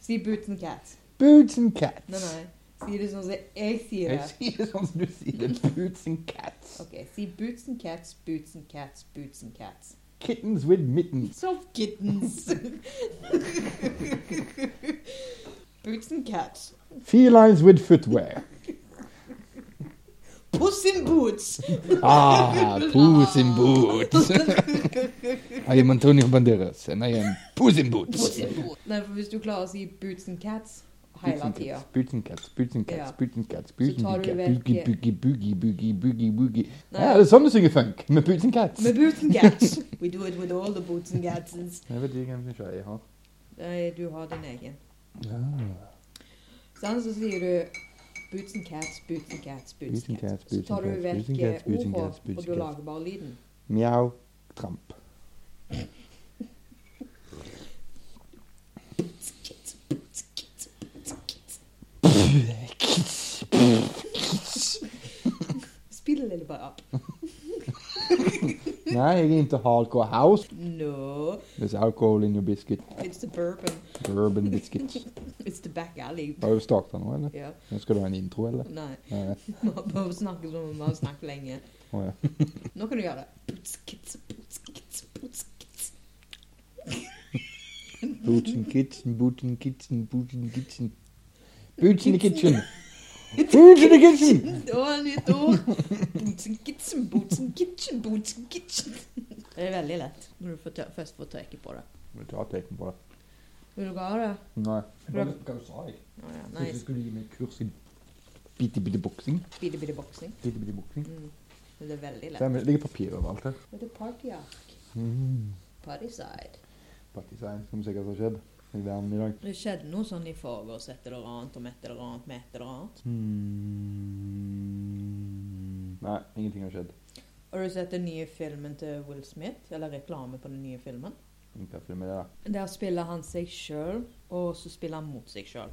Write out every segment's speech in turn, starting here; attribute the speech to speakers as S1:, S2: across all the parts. S1: Zie buitenkat.
S2: Buitenkat.
S1: Nee, nee. Zie, dit is onze eisieren.
S2: Er zie je soms nu zie je de buitenkat.
S1: Okay, zie buitenkat, buitenkat, buitenkat.
S2: Kittens with mittens.
S1: Zo kittens. buitenkat.
S2: Felines with footwear.
S1: Puss in boots.
S2: Ah, Puss in Boots. I am Antonio Banderas and I am Puss in Boots.
S1: Puss in boots. Nee, voor als du klaar zie buitenkat, heilat hier.
S2: Buitenkat,
S1: Ja.
S2: buitenkat, buitenkat,
S1: Zo tar
S2: buitenkat,
S1: du
S2: boogie,
S1: verket.
S2: boogie, boogie, boogie, boogie, boogie. Ah,
S1: Nee.
S2: Ja, dat is anders ingefunk. Met buitenkat.
S1: Met buitenkat. We do it with all the buitenkatens.
S2: Ja, wat die gaan we zeggen, hoor.
S1: Nee, du har din egen.
S2: Ah.
S1: Sen så sier du Boots and cats, boots and cats, boots and
S2: Boots and
S1: cats.
S2: cats,
S1: Så
S2: boots
S1: tar
S2: and
S1: du
S2: cats,
S1: vekk
S2: boots and cats, boots
S1: ordet,
S2: and cats,
S1: og
S2: boots and
S1: du
S2: cats.
S1: lager bare lyden.
S2: Miauw, tramp.
S1: Spill det bare opp.
S2: Nee, je neemt de hardcore house.
S1: No,
S2: There's alcohol in your biscuit.
S1: it's the bourbon.
S2: Bourbon biscuits.
S1: It's the back alley.
S2: Oh, stak dan hoor.
S1: Ja,
S2: Dan skal du ha en intro, eller?
S1: nei.
S2: Ja,
S1: Vi har bare snakket som om vi har snakket lenge.
S2: oh, ja.
S1: Nå kan du gjøre det. Boots, kits, boots, kits, boots, kits.
S2: Boots in kitchen, boots in kitchen, boots in kitchen. Boots in the kitchen. Boots in the kitchen.
S1: Det var et nytt ord. Boots and kitchen, boots and kitchen, boots and kitchen. Det er veldig lett når du får tø- først får trekket på det.
S2: Vet du hva teken på det?
S1: Vil du ha det?
S2: Nei.
S1: Bra.
S2: Hva sa jeg?
S1: Å ja,
S2: Nice. Jeg
S1: nice.
S2: skulle gi meg kurs i bitte, bitte boksing.
S1: Bitte, bitte boksing.
S2: Bitte, bitte boksing.
S1: Mm. Men Det er veldig
S2: Det
S1: lett.
S2: er- det ligger papir overalt her.
S1: Det er partyark.
S2: Mm.
S1: Partyside.
S2: Partisein, som sikkert har skjedd. I verden i dag.
S1: Det skjedde noe sånn i forgårs, et eller annet om et eller annet med et eller annet.
S2: Mm. Nei, ingenting har skjedd.
S1: Har du sett den nye filmen til Will Smith? Eller reklame på den nye filmen?
S2: Ikke film med det da.
S1: Der spiller han seg sjøl, og så spiller han mot seg sjøl.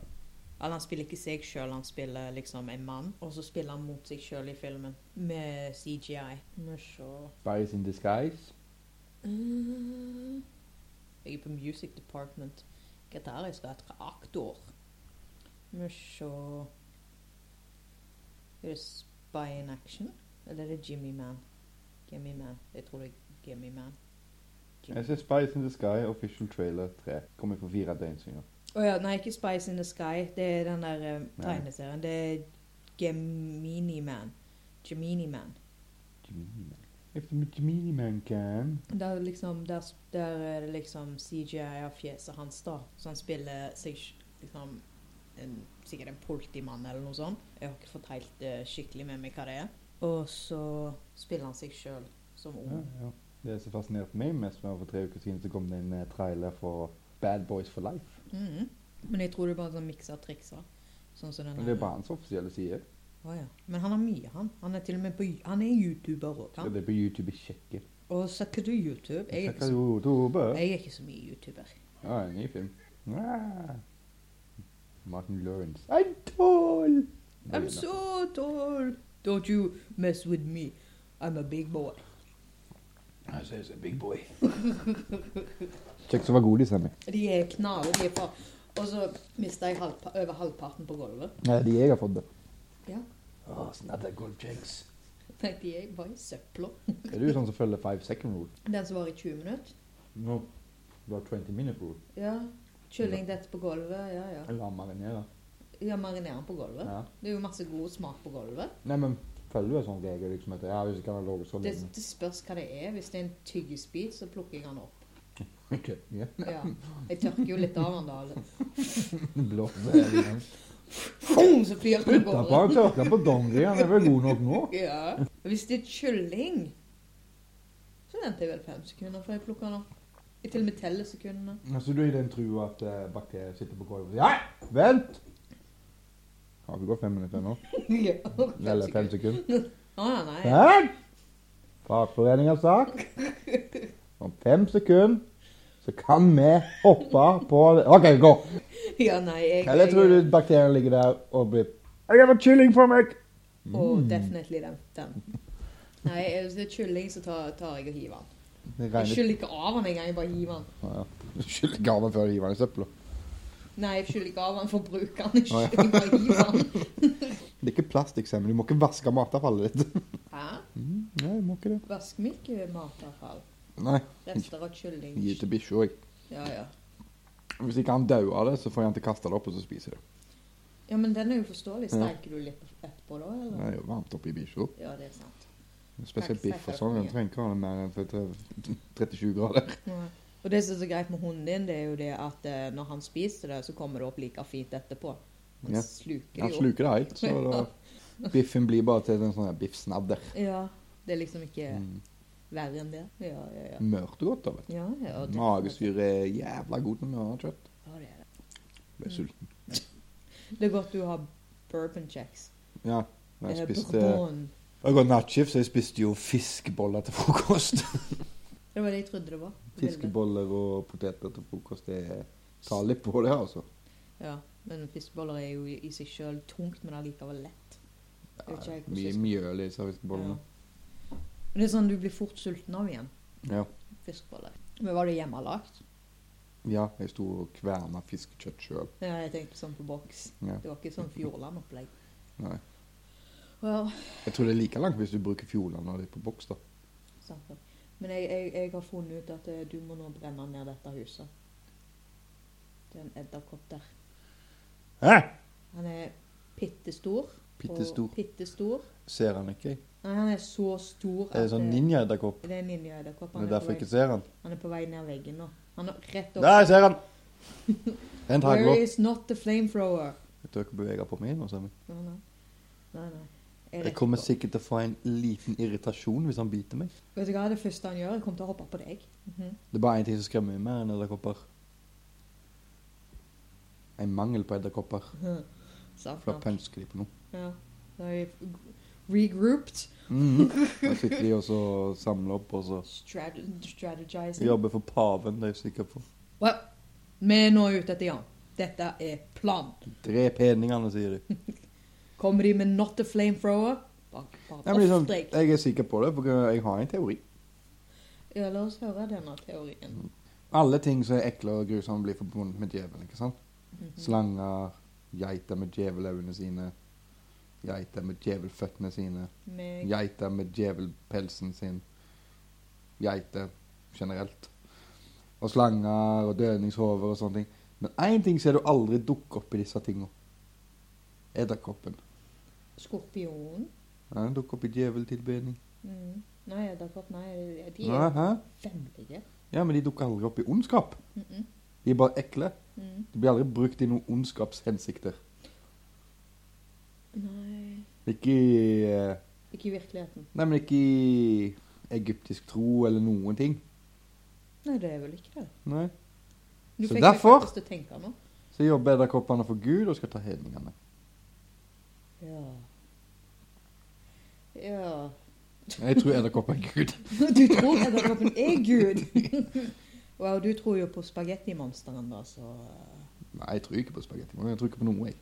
S1: Eller han spiller ikke seg sjøl, han spiller liksom en mann, og så spiller han mot seg sjøl i filmen. Med CGI. Må sjå
S2: Spies in disguise.
S1: Mm. Jeg er på Music Department. Hva der jeg skal være aktor? Må se Er det Spy in Action? Eller er det Jimmy Man? Jimmy Man. Jeg tror det er Jimmy Man.
S2: Jeg
S1: Jimmy.
S2: ser Spies in the Sky Official Trailer 3. Kommer for fire døgn siden.
S1: Å ja, nei, ikke Spice in the Sky. Det er den der eh,
S2: Nei.
S1: tegneserien. Det er Gemini Man. Gemini Man.
S2: Gemini Man. If the Gemini Man can.
S1: Der, liksom, der, der er det liksom CGI av fjeset hans, da. Så han spiller seg sj- liksom en, Sikkert en politimann eller noe sånt. Jeg har ikke fått helt eh, skikkelig med meg hva det er. Og så spiller han seg sjøl som ung.
S2: Ja, ja. Det som fascinerte meg mest, var for tre uker siden så kom det en eh, trailer for Bad Boys for Life.
S1: Mhm. Men jeg tror det er bare sånn miksa trikser. Sånn som den
S2: Men det er
S1: der-
S2: bare hans offisielle side.
S1: Å, ja. Men han har mye, han. Han er til og med på Han er YouTuber òg,
S2: Ja.
S1: han.
S2: Det er på YouTube i Tsjekkia.
S1: Og søker du YouTube? Jeg er ikke så,
S2: Ja,
S1: jeg er ikke så mye YouTuber.
S2: en ny film. Ah. Martin Lawrence. I'm tall!
S1: I'm so tall! Don't you mess with me. I'm a big boy.
S2: I say it's a big boy. Kjekk som var god, de stemmer.
S1: De er knaller, de er fra Og så mista jeg halvpa over halvparten på gulvet.
S2: Nei, de jeg har fått det.
S1: Ja.
S2: Oh, it's not that good, Jakes.
S1: Nei, de er bare i søpla.
S2: Er du sånn som følger five second rule?
S1: Den som var i 20 minutter.
S2: No. Du har 20 minute rule.
S1: Ja. Kylling dette på gulvet. Ja, ja.
S2: Eller har marinere.
S1: Ja, marinere den på gulvet.
S2: Ja.
S1: Det er jo masse god smak på gulvet.
S2: Nei, men følger du en sånn regel liksom at ja, hvis ikke han har lov, så
S1: Det,
S2: lenge.
S1: det spørs hva det er. Hvis det er en tyggisbit, så plukker jeg den opp.
S2: Ok, ja.
S1: Ja. Jeg tørker jo litt av den da.
S2: Blå. Putt
S1: Boom, så flyr den av
S2: han på
S1: gårde.
S2: en tørkle på dongeri, han er vel god nok nå?
S1: Ja. Hvis det er kylling, så venter jeg vel fem sekunder før jeg plukker den opp. Jeg til og med teller sekundene.
S2: Altså, du er i den trua at eh, bakterier sitter på gulvet og sier Hei, vent! Har vi gått fem minutter nå?
S1: ja.
S2: Eller fem sekunder?
S1: Å ja, nei.
S2: Vent! Fagforeningen har sagt om fem sekunder så kan vi hoppe på det. OK, gå!
S1: Ja, nei, jeg,
S2: Eller tror du bakteriene ligger der og blir Jeg har fått kylling for meg! Mm.
S1: Og definitely den. den. Nei, hvis det er kylling, så tar, tar jeg og hiver den.
S2: Det
S1: Jeg
S2: regner
S1: skyller ikke av den engang, jeg bare hiver den.
S2: Skyll gaven før du hiver den i søpla.
S1: Nei, jeg skylder ikke av han for å bruke han.
S2: Å, ja.
S1: Ikke jeg bare gir han.
S2: Det er ikke plastikk, Sam. Du må ikke vaske matavfallet ditt.
S1: Hæ?
S2: Mm, nei, du må ikke det.
S1: Vask meg ikke matavfall.
S2: Nei,
S1: Rester av kylling.
S2: gi til bikkja, jeg.
S1: Ja, ja.
S2: Hvis ikke han dauer av det, så får jeg han til å kaste det opp, og så spiser jeg det.
S1: Ja, men den er jo forståelig.
S2: Ja.
S1: Steiker du litt etterpå da,
S2: Det
S1: eller?
S2: er jo varmt oppi bikkja.
S1: Ja, det er sant.
S2: Spesielt
S1: Takk,
S2: biff og sånn.
S1: takk.
S2: Den trenger ikke ha det mer enn for tre- 37 grader.
S1: Ja. Og det som er så greit med hunden din, det er jo det at eh, når han spiser det, så kommer det opp like fint etterpå. Han
S2: Ja.
S1: sluker
S2: Han
S1: det jo.
S2: sluker det helt, så da Biffen blir bare til en sånn her biffsnadder.
S1: Ja. Det er liksom ikke
S2: Mm.
S1: verre enn det. Ja, ja, ja.
S2: Mørt godt av det.
S1: Ja, ja. det-
S2: Magesyre er jævla godt når man har kjøtt.
S1: Ja, det er det.
S2: Ble
S1: Mm.
S2: sulten.
S1: Det er godt du har bourbon checks.
S2: Ja. når Jeg
S1: Eh,
S2: spiste
S1: Bourbon.
S2: Jeg går nattskift, så jeg spiste jo fiskeboller til frokost.
S1: Det var det jeg trodde det var.
S2: Fiskeboller og poteter til frokost, det tar litt på det, altså.
S1: Ja, men fiskeboller er jo i i seg sjøl tungt, men allikevel lett. Jeg vet ikke
S2: Ja,
S1: helt hvordan
S2: Mye
S1: jeg skal-
S2: mjøl i disse
S1: Ja.
S2: fiskebollene.
S1: Men Det er sånn du blir fort sulten av igjen.
S2: Ja.
S1: Fiskeboller. Men var det hjemmelagt?
S2: ja. Jeg sto og kverna fiskekjøtt sjøl.
S1: Ja, jeg tenkte sånn på boks.
S2: Ja.
S1: Det var ikke sånn Fjordland-opplegg.
S2: Nei.
S1: Well,
S2: Jeg tror det er like langt hvis du bruker Fjordland når det er på boks, da.
S1: sant nok. Men jeg, jeg, jeg har funnet ut at eh, du må nå brenne ned dette huset. Det er en edderkopp der.
S2: Hæ?
S1: Han er pittestor.
S2: Bitte stor.
S1: Og pittestor.
S2: Ser han ikke?
S1: Nei, han er så stor eh,
S2: Er det sånn ninjaedderkopp?
S1: Det er en ninjaedderkopp.
S2: Det
S1: Han,
S2: er
S1: er på
S2: derfor jeg
S1: vei-
S2: ikke ser han.
S1: han er på vei ned veggen nå. Han er rett opp.
S2: Der, jeg ser han! Det er en
S1: Where
S2: taglåt.
S1: is not the flamethrower?
S2: Jeg tror ikke beveger på meg nå, Sammy.
S1: Nei, nei. nei, nei. Jeg
S2: Jeg
S1: rett
S2: kommer
S1: opp.
S2: sikkert til å få en liten irritasjon hvis han biter meg.
S1: Vet du hva det første han gjør? Jeg kommer til å hoppe på deg. Mhm.
S2: Det er bare én ting som skremmer meg mer enn edderkopper. En mangel på edderkopper.
S1: Sant,
S2: For da
S1: sant.
S2: pønsker de på noe.
S1: Ja. Da er jeg regrouped.
S2: Mhm. Da sitter de og så samler opp og så
S1: Strate
S2: Mm.
S1: strategizing.
S2: jobber for paven. Det er jeg sikker på.
S1: Well, vi er nå ute etter Jan. Dette er planen.
S2: Drep hedningene, sier de.
S1: Kommer de med not the flamethrower? Bare, bare
S2: Nei, men liksom,
S1: offer deg.
S2: jeg er sikker på det, for jeg har en teori.
S1: Ja, la oss høre denne teorien.
S2: Alle ting som er ekle og grusomme, blir forbundet med djevelen. ikke sant?
S1: Mhm.
S2: Slanger, geiter med djeveløyne sine, geiter med djevelføttene sine,
S1: Meg.
S2: geiter med djevelpelsen sin, geiter generelt, og slanger og dødningshover og sånne ting. Men én ting ser du aldri dukke opp i disse tinga. Edderkoppen.
S1: Skorpion.
S2: Ja, Den dukker opp i djeveltilbedning.
S1: Mm. Nei, edderkopp. Nei, de
S2: Ja,
S1: er
S2: hæ?
S1: vennlige.
S2: ja, men de dukker aldri opp i ondskap.
S1: Mm -mm.
S2: De er bare ekle.
S1: Mm.
S2: De blir aldri brukt i noen ondskapshensikter.
S1: Nei
S2: Ikke i eh,
S1: Ikke i virkeligheten.
S2: Nei, men ikke i egyptisk tro eller noen ting.
S1: Nei, det er vel ikke det.
S2: Nei.
S1: Du
S2: Så
S1: fikk
S2: derfor-
S1: meg faktisk til å tenke nå.
S2: Så jobber edderkoppene for Gud og skal ta hedningene.
S1: Ja. Ja.
S2: Jeg tror edderkoppen er Gud.
S1: Du tror edderkoppen er Gud? wow, du tror jo på spagettimonsteren, da, så
S2: Nei, jeg tror ikke på spagetti. men Jeg tror ikke på noe. Jeg,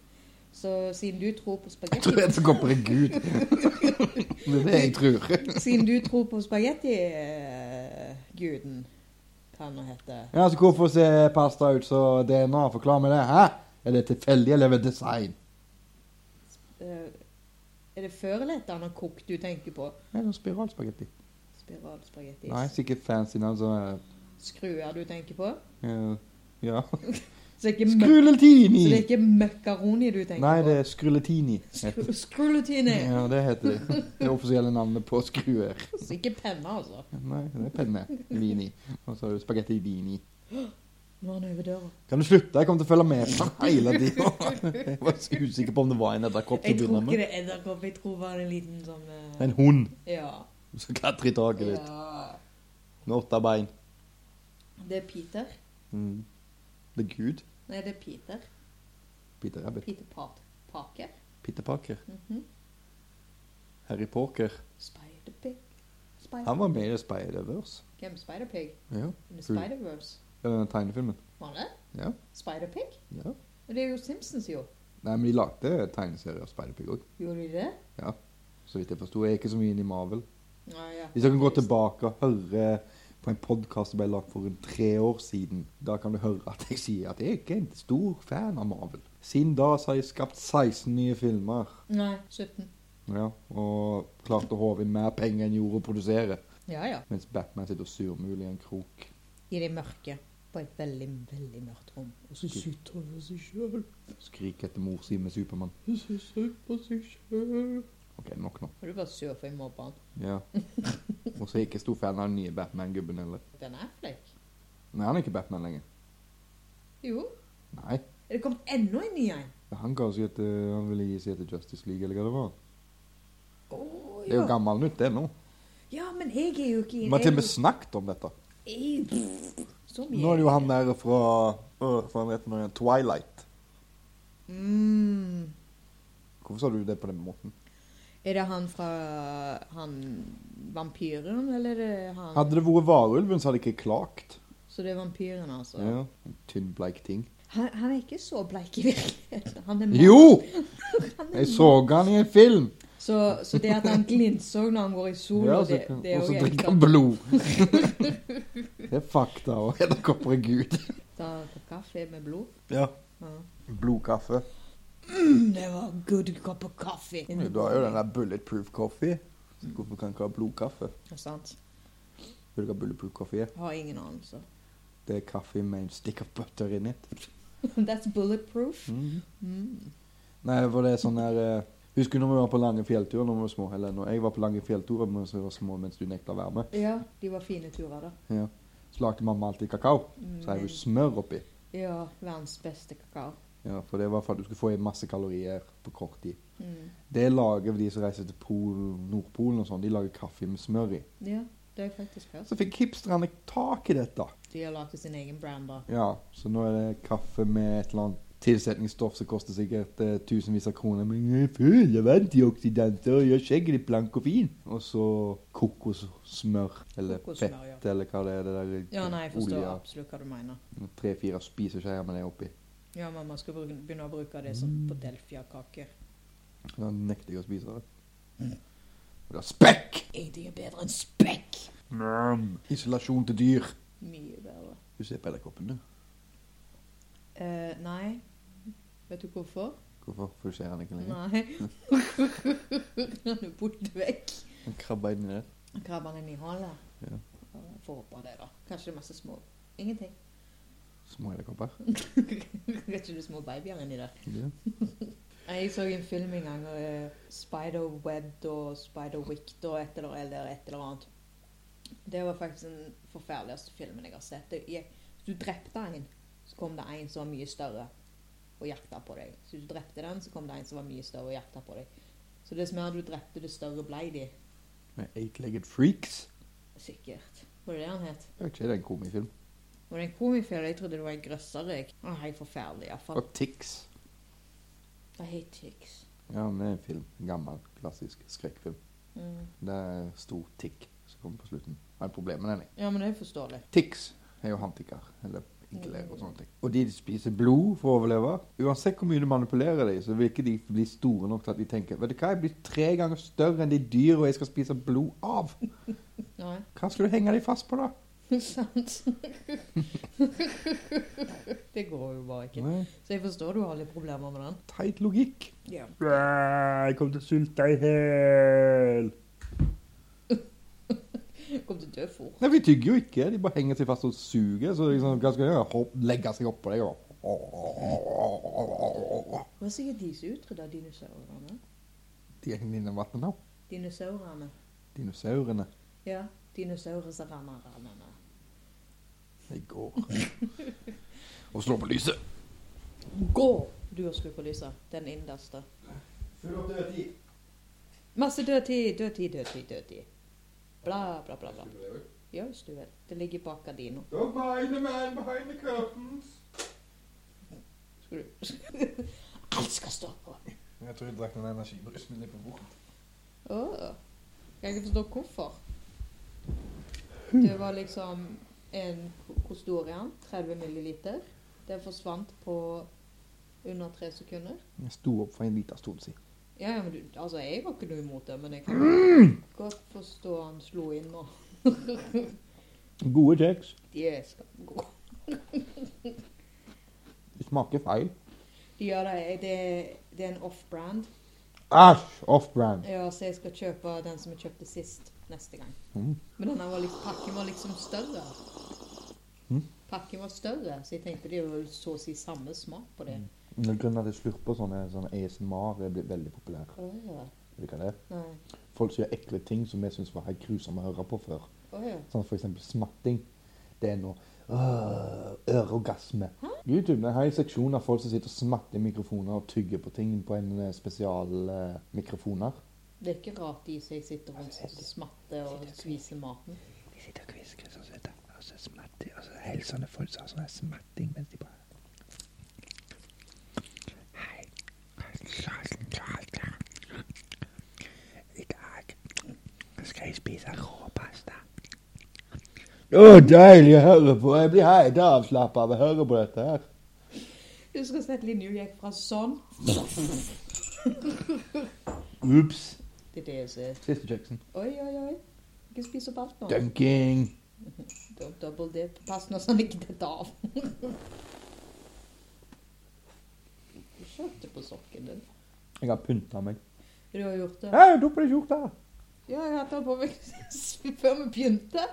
S1: Så siden du tror på
S2: jeg tror
S1: spagetti
S2: edderkopper er Gud. Det er det jeg tror.
S1: Siden du tror på eh, spagettiguden, hva han nå heter
S2: Ja, så Hvorfor ser pasta ut som DNA? Forklar meg det. Hæ? Er det tilfeldig, eller er det design?
S1: Eh, Er det før eller etter han har kokt du tenker på?
S2: Nei, sånn spiralspagetti.
S1: Spiralspagetti?
S2: Nei, sikkert fancy navn som
S1: Skruer du tenker på?
S2: eh, Ja.
S1: Så det er ikke, møk- så det er
S2: Skruletini!
S1: ikke makaroni du tenker
S2: Nei, det
S1: på?
S2: er skruletini. heter det.
S1: Skru- Skrulletini!
S2: Ja, det heter det. Det er offisielle navnet på skruer.
S1: Så ikke penne, altså.
S2: Nei, det er penne. Vini. Og så har du spagetti vini.
S1: Nå er han over døra.
S2: Kan du slutte? Jeg kommer til å følge med på hele tida. Jeg var så usikker på om det var en edderkopp til
S1: Jeg
S2: å
S1: tror
S2: begynne
S1: ikke
S2: med.
S1: det er edderkopp. Jeg tror bare en liten sånn eh,
S2: En hund
S1: Ja.
S2: som klatrer i taket
S1: ja.
S2: ditt med åtte bein.
S1: Det er Peter.
S2: Mm. Det er Gud.
S1: Nei, det er Peter.
S2: Peter Rabbit.
S1: Peter Pat Parker.
S2: Peter Parker.
S1: Mhm.
S2: Harry Porker.
S1: Spider-Pig. Spider
S2: Han var med i Spider-Verse.
S1: Hvem Spider-Pig?
S2: Ja.
S1: Med Spider-Verse.
S2: Ja, Den tegnefilmen.
S1: Var det?
S2: Ja.
S1: Spider-Pig?
S2: ja.
S1: Men Det er jo Simpsons, jo.
S2: Nei, men de lagde tegneserier av Spider-Pig òg.
S1: Gjorde de det?
S2: Så vidt jeg forsto. Jeg er ikke så mye inn i Marvel.
S1: Nei, ja.
S2: Hvis dere går tilbake og hører på en podkast som ble lagd for rundt tre år siden. Da kan du høre at jeg sier at jeg ikke er en stor fan av Marvel. Siden da så har jeg skapt 16 nye filmer.
S1: Nei, 17.
S2: Ja, og klarte å håve inn mer penger enn gjorde å produsere.
S1: Ja, ja.
S2: Mens Batman sitter og surmuler i en krok.
S1: I det mørke. På et veldig, veldig mørkt rom. Og så sitter han for seg sjøl.
S2: Skriker etter mor si med Supermann.
S1: Og så sitter han for seg sjøl.
S2: OK, nok nå.
S1: Og du bare sur for jeg mobber han.
S2: Ja. Og så er jeg ikke stor fan av den nye Batman-gubben heller.
S1: Ben Affleck?
S2: Nei, han er ikke Batman lenger.
S1: Jo.
S2: Nei.
S1: Er det kommet enda en ny en?
S2: Han, ga seg etter, han ville gi seg etter Justice League, eller hva det var.
S1: Oh,
S2: Det er jo gammel nytt, det nå.
S1: Ja, men jeg er jo ikke
S2: Vi har til og med snakket om dette.
S1: Jeg- Så mye.
S2: Nå er det jo han der fra øh, fra han heter nå igjen, Twilight.
S1: Mm.
S2: Hvorfor sa du det på den måten?
S1: Er det han fra han vampyren, eller er det han
S2: Hadde det vært varulven, så hadde jeg ikke klagt.
S1: Så det er vampyren, altså?
S2: Ja. En tynn, bleik ting.
S1: Han, han er ikke så bleik i virkeligheten. Han er mat.
S2: Jo!
S1: Han er
S2: Jeg så han i en film!
S1: Så, så det at han glinser når han går i sola,
S2: Ja, så,
S1: det, det er
S2: og
S1: jo
S2: så
S1: helt
S2: drikker han blod. det er fakta. Og edderkopper er gud.
S1: Ta kopp kaffe med blod.
S2: Ja.
S1: Ja. Mm,
S2: Blodkaffe.
S1: Det var good kopp of coffee.
S2: Du har jo den der bulletproof coffee. Så Hvorfor kan du ikke ha blodkaffe?
S1: Ja, Sant.
S2: Vet du hva bulletproof coffee er?
S1: Har ingen anelse.
S2: Det er kaffe med en stick of butter in it.
S1: That's bulletproof.
S2: Mhm.
S1: Mm.
S2: Nei, for det er sånn her eh, Husker du når vi var på lange fjellturer når vi var små? Eller når jeg var på lange fjellturer mens vi var små mens du nekta å være med.
S1: Ja, de var fine turer, da.
S2: Ja. Så lagde mamma alltid kakao.
S1: Mm,
S2: Så er
S1: men-
S2: det smør oppi.
S1: Ja, verdens beste kakao.
S2: Ja, For det var for at du skulle få i masse kalorier på kort tid.
S1: Mm.
S2: Det lager de som reiser til Pol, Nordpolen og sånn. De lager kaffe med smør i.
S1: Ja, det har jeg faktisk hørt.
S2: Så fikk hipsterne tak i dette.
S1: De har laget sin egen brand, da.
S2: Ja, så nå er det kaffe med et eller annet tilsetningsstoff som koster sikkert eh, tusenvis av kroner. Men jeg føler av antioksidanter og gjør skjegget ditt blank og fin. Og så kokossmør. Eller
S1: Kokosmør,
S2: fett,
S1: ja.
S2: eller hva det er. Det der
S1: Ja, nei, jeg forstår absolutt hva du mener.
S2: Tre-fire spiseskjeer med det oppi.
S1: Ja, men man skal bruke, begynne å bruke det som på delfiakake.
S2: Da nekter jeg å spise det. Og det er spekk!
S1: Ingenting er bedre enn spekk!
S2: Isolasjon til dyr.
S1: Mye bedre.
S2: Du ser på edderkoppen, du.
S1: Eh, nei. Vet du hvorfor?
S2: Hvorfor For du ser han ikke lenger?
S1: Nei. Han er borte vekk.
S2: Han krabba inni der.
S1: Krabber han inn i hullet?
S2: Ja.
S1: Får håpe det, da. Kanskje det er masse små Ingenting.
S2: Små edderkopper.
S1: Kanskje det er små babyer inni der.
S2: Ja.
S1: Nei, Jeg så en film en gang, eh, Spiderweb og Spiderwick og et eller, eller et eller annet. Det var faktisk den forferdeligste filmen jeg har sett. Det gikk, hvis du drepte en, så kom det en som var mye større og jakta på deg. Så hvis du drepte den, så kom det en som var mye større og jakta på deg. Så dess mer du drepte, det større ble de.
S2: Med Eight-legged freaks.
S1: Sikkert. Var det det han het?
S2: Jeg vet ikke, det er en komifilm.
S1: Var det en komifilm? Jeg trodde det var en grøsser. jeg. Å, Helt forferdelig, iallfall.
S2: Og Tix.
S1: I hate chicks.
S2: Ja, men det er en film. En gammel, klassisk skrekkfilm.
S1: Mm.
S2: Det er stor tikk som kommer på slutten. Hva er problemet med den?
S1: Ja, men det er forståelig.
S2: Tix er jo hantikker, eller igler og sånne ting. Og de spiser blod for å overleve. Uansett hvor mye du manipulerer dem, så vil ikke de bli store nok til at de tenker Vet du hva, jeg blir tre ganger større enn de dyra jeg skal spise blod av.
S1: Nei.
S2: Hva skal du henge dem fast på, da?
S1: Sant. det går jo bare ikke.
S2: Nei,
S1: Så jeg forstår du har litt problemer med den.
S2: Teit logikk.
S1: Ja.
S2: Jeg kommer til å sulte deg i hjel.
S1: Kom til å dø fort.
S2: Nei, vi tygger jo ikke. De bare henger seg fast og suger. Så liksom, hva skal de gjøre? Hopp, legge seg oppå deg og
S1: Det var sikkert de som utrydda dinosaurene.
S2: De er innom vannet nå.
S1: Dinosaurene.
S2: Dinosaurene.
S1: Ja. Dinosaurene.
S2: De går. og slår på lyset.
S1: Gå! Du har skrudd på lyset. Den innerste.
S2: Full opp dødtid.
S1: Masse dødtid, dødtid, dødtid, dødtid. Bla, bla, bla. bla. Ja, hvis du vil. Det ligger bak gardina.
S2: Don't mind the man behind the curtains.
S1: Skal du Alt skal stå på.
S2: Jeg tror jeg drakk noen energibrus med litt på bordet.
S1: Åh. Jeg kan ikke forstå hvorfor. Det var liksom en Hvor stor er han? 30 milliliter. Det forsvant på under tre sekunder.
S2: Jeg sto opp for en liten stund siden.
S1: Ja, ja, men du, altså, jeg var ikke noe imot det, men jeg kan godt forstå han slo inn nå.
S2: Gode kjeks.
S1: De er skamgode.
S2: Det smaker feil.
S1: Ja, det er, det er- det er en off-brand.
S2: Æsj! Off-brand.
S1: Ja, så jeg skal kjøpe den som jeg kjøpte sist, neste gang.
S2: Mm.
S1: Men denne var liksom, pakken var liksom større.
S2: Mm.
S1: Pakken var større, så jeg tenkte det var så å si samme smak på det.
S2: Men Grunnen til at jeg slurper sånne, sånne ASMR er blitt veldig populær.
S1: Åja,
S2: Vet du hva det er?
S1: nei.
S2: Folk sier ekle ting som jeg syns var helt grusomme å høre på før.
S1: Åja.
S2: Sånn for eksempel smatting. Det er noe øh, øreorgasme. YouTube har en seksjon av folk som sitter og smatter i mikrofoner og tygger på ting på en eh, spesial eh, mikrofoner.
S1: Det er ikke rart de som jeg sitter rundt og smatter og spiser maten.
S3: De sitter og kvisker sånn som dette, og så smatter og så helt sånne folk som har altså, sånn her smatting mens de bare Hei. Sånn, sånn, sånn. I dag skal jeg spise råpasta.
S2: Å, deilig å høre på! Jeg blir helt avslappa av å høre på dette her.
S1: Du skal se at linja gikk fra sånn.
S2: Ups.
S1: Det er det jeg ser.
S2: Siste kjeksen.
S1: Oi, oi, oi. Ikke spis opp alt nå.
S2: Dunking.
S1: Du- Double dip. Pass nå så han ikke detter av. Du skjønte på sokken din.
S2: Jeg har pynta meg.
S1: Du har gjort det.
S2: Hei, du på deg skjorta!
S1: Ja, jeg har hatt den på meg før vi begynte.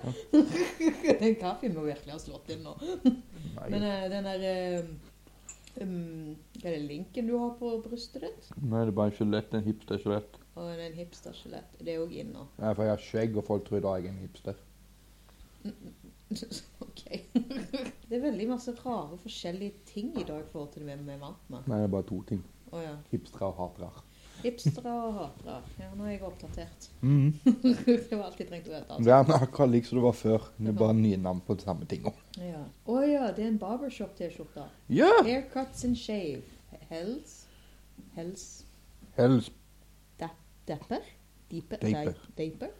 S1: Den kaffen må virkelig ha slått inn nå. Men
S2: Nei,
S1: eh, den der eh, um, Hva er det linken du har på brystet ditt?
S2: nå er det bare en skjelett. En hipster-skjelett.
S1: Og den hipsterskjelett. Det er òg inn nå.
S2: Nei, for jeg har skjegg, og folk tror da jeg er en hipster.
S1: OK. Det er veldig masse rare forskjellige ting i dag i forhold til det vi er vant med.
S2: Nei, det er bare to ting.
S1: Å ja.
S2: Hipstere og hatere.
S1: Hipstere og hatere. Ja, nå er jeg oppdatert.
S2: Mm.
S1: Det var alt jeg trengte å vite. altså.
S2: Ja, men akkurat lik som det var før. Det er bare nye navn på de samme tinga.
S1: Ja. Å ja, det er en barbershop-T-skjorte.
S2: Ja!
S1: Haircuts and shave. Hells. Hells.
S2: Hells
S1: Dapper? Deeper?
S2: Daper.
S1: Dei- Daper?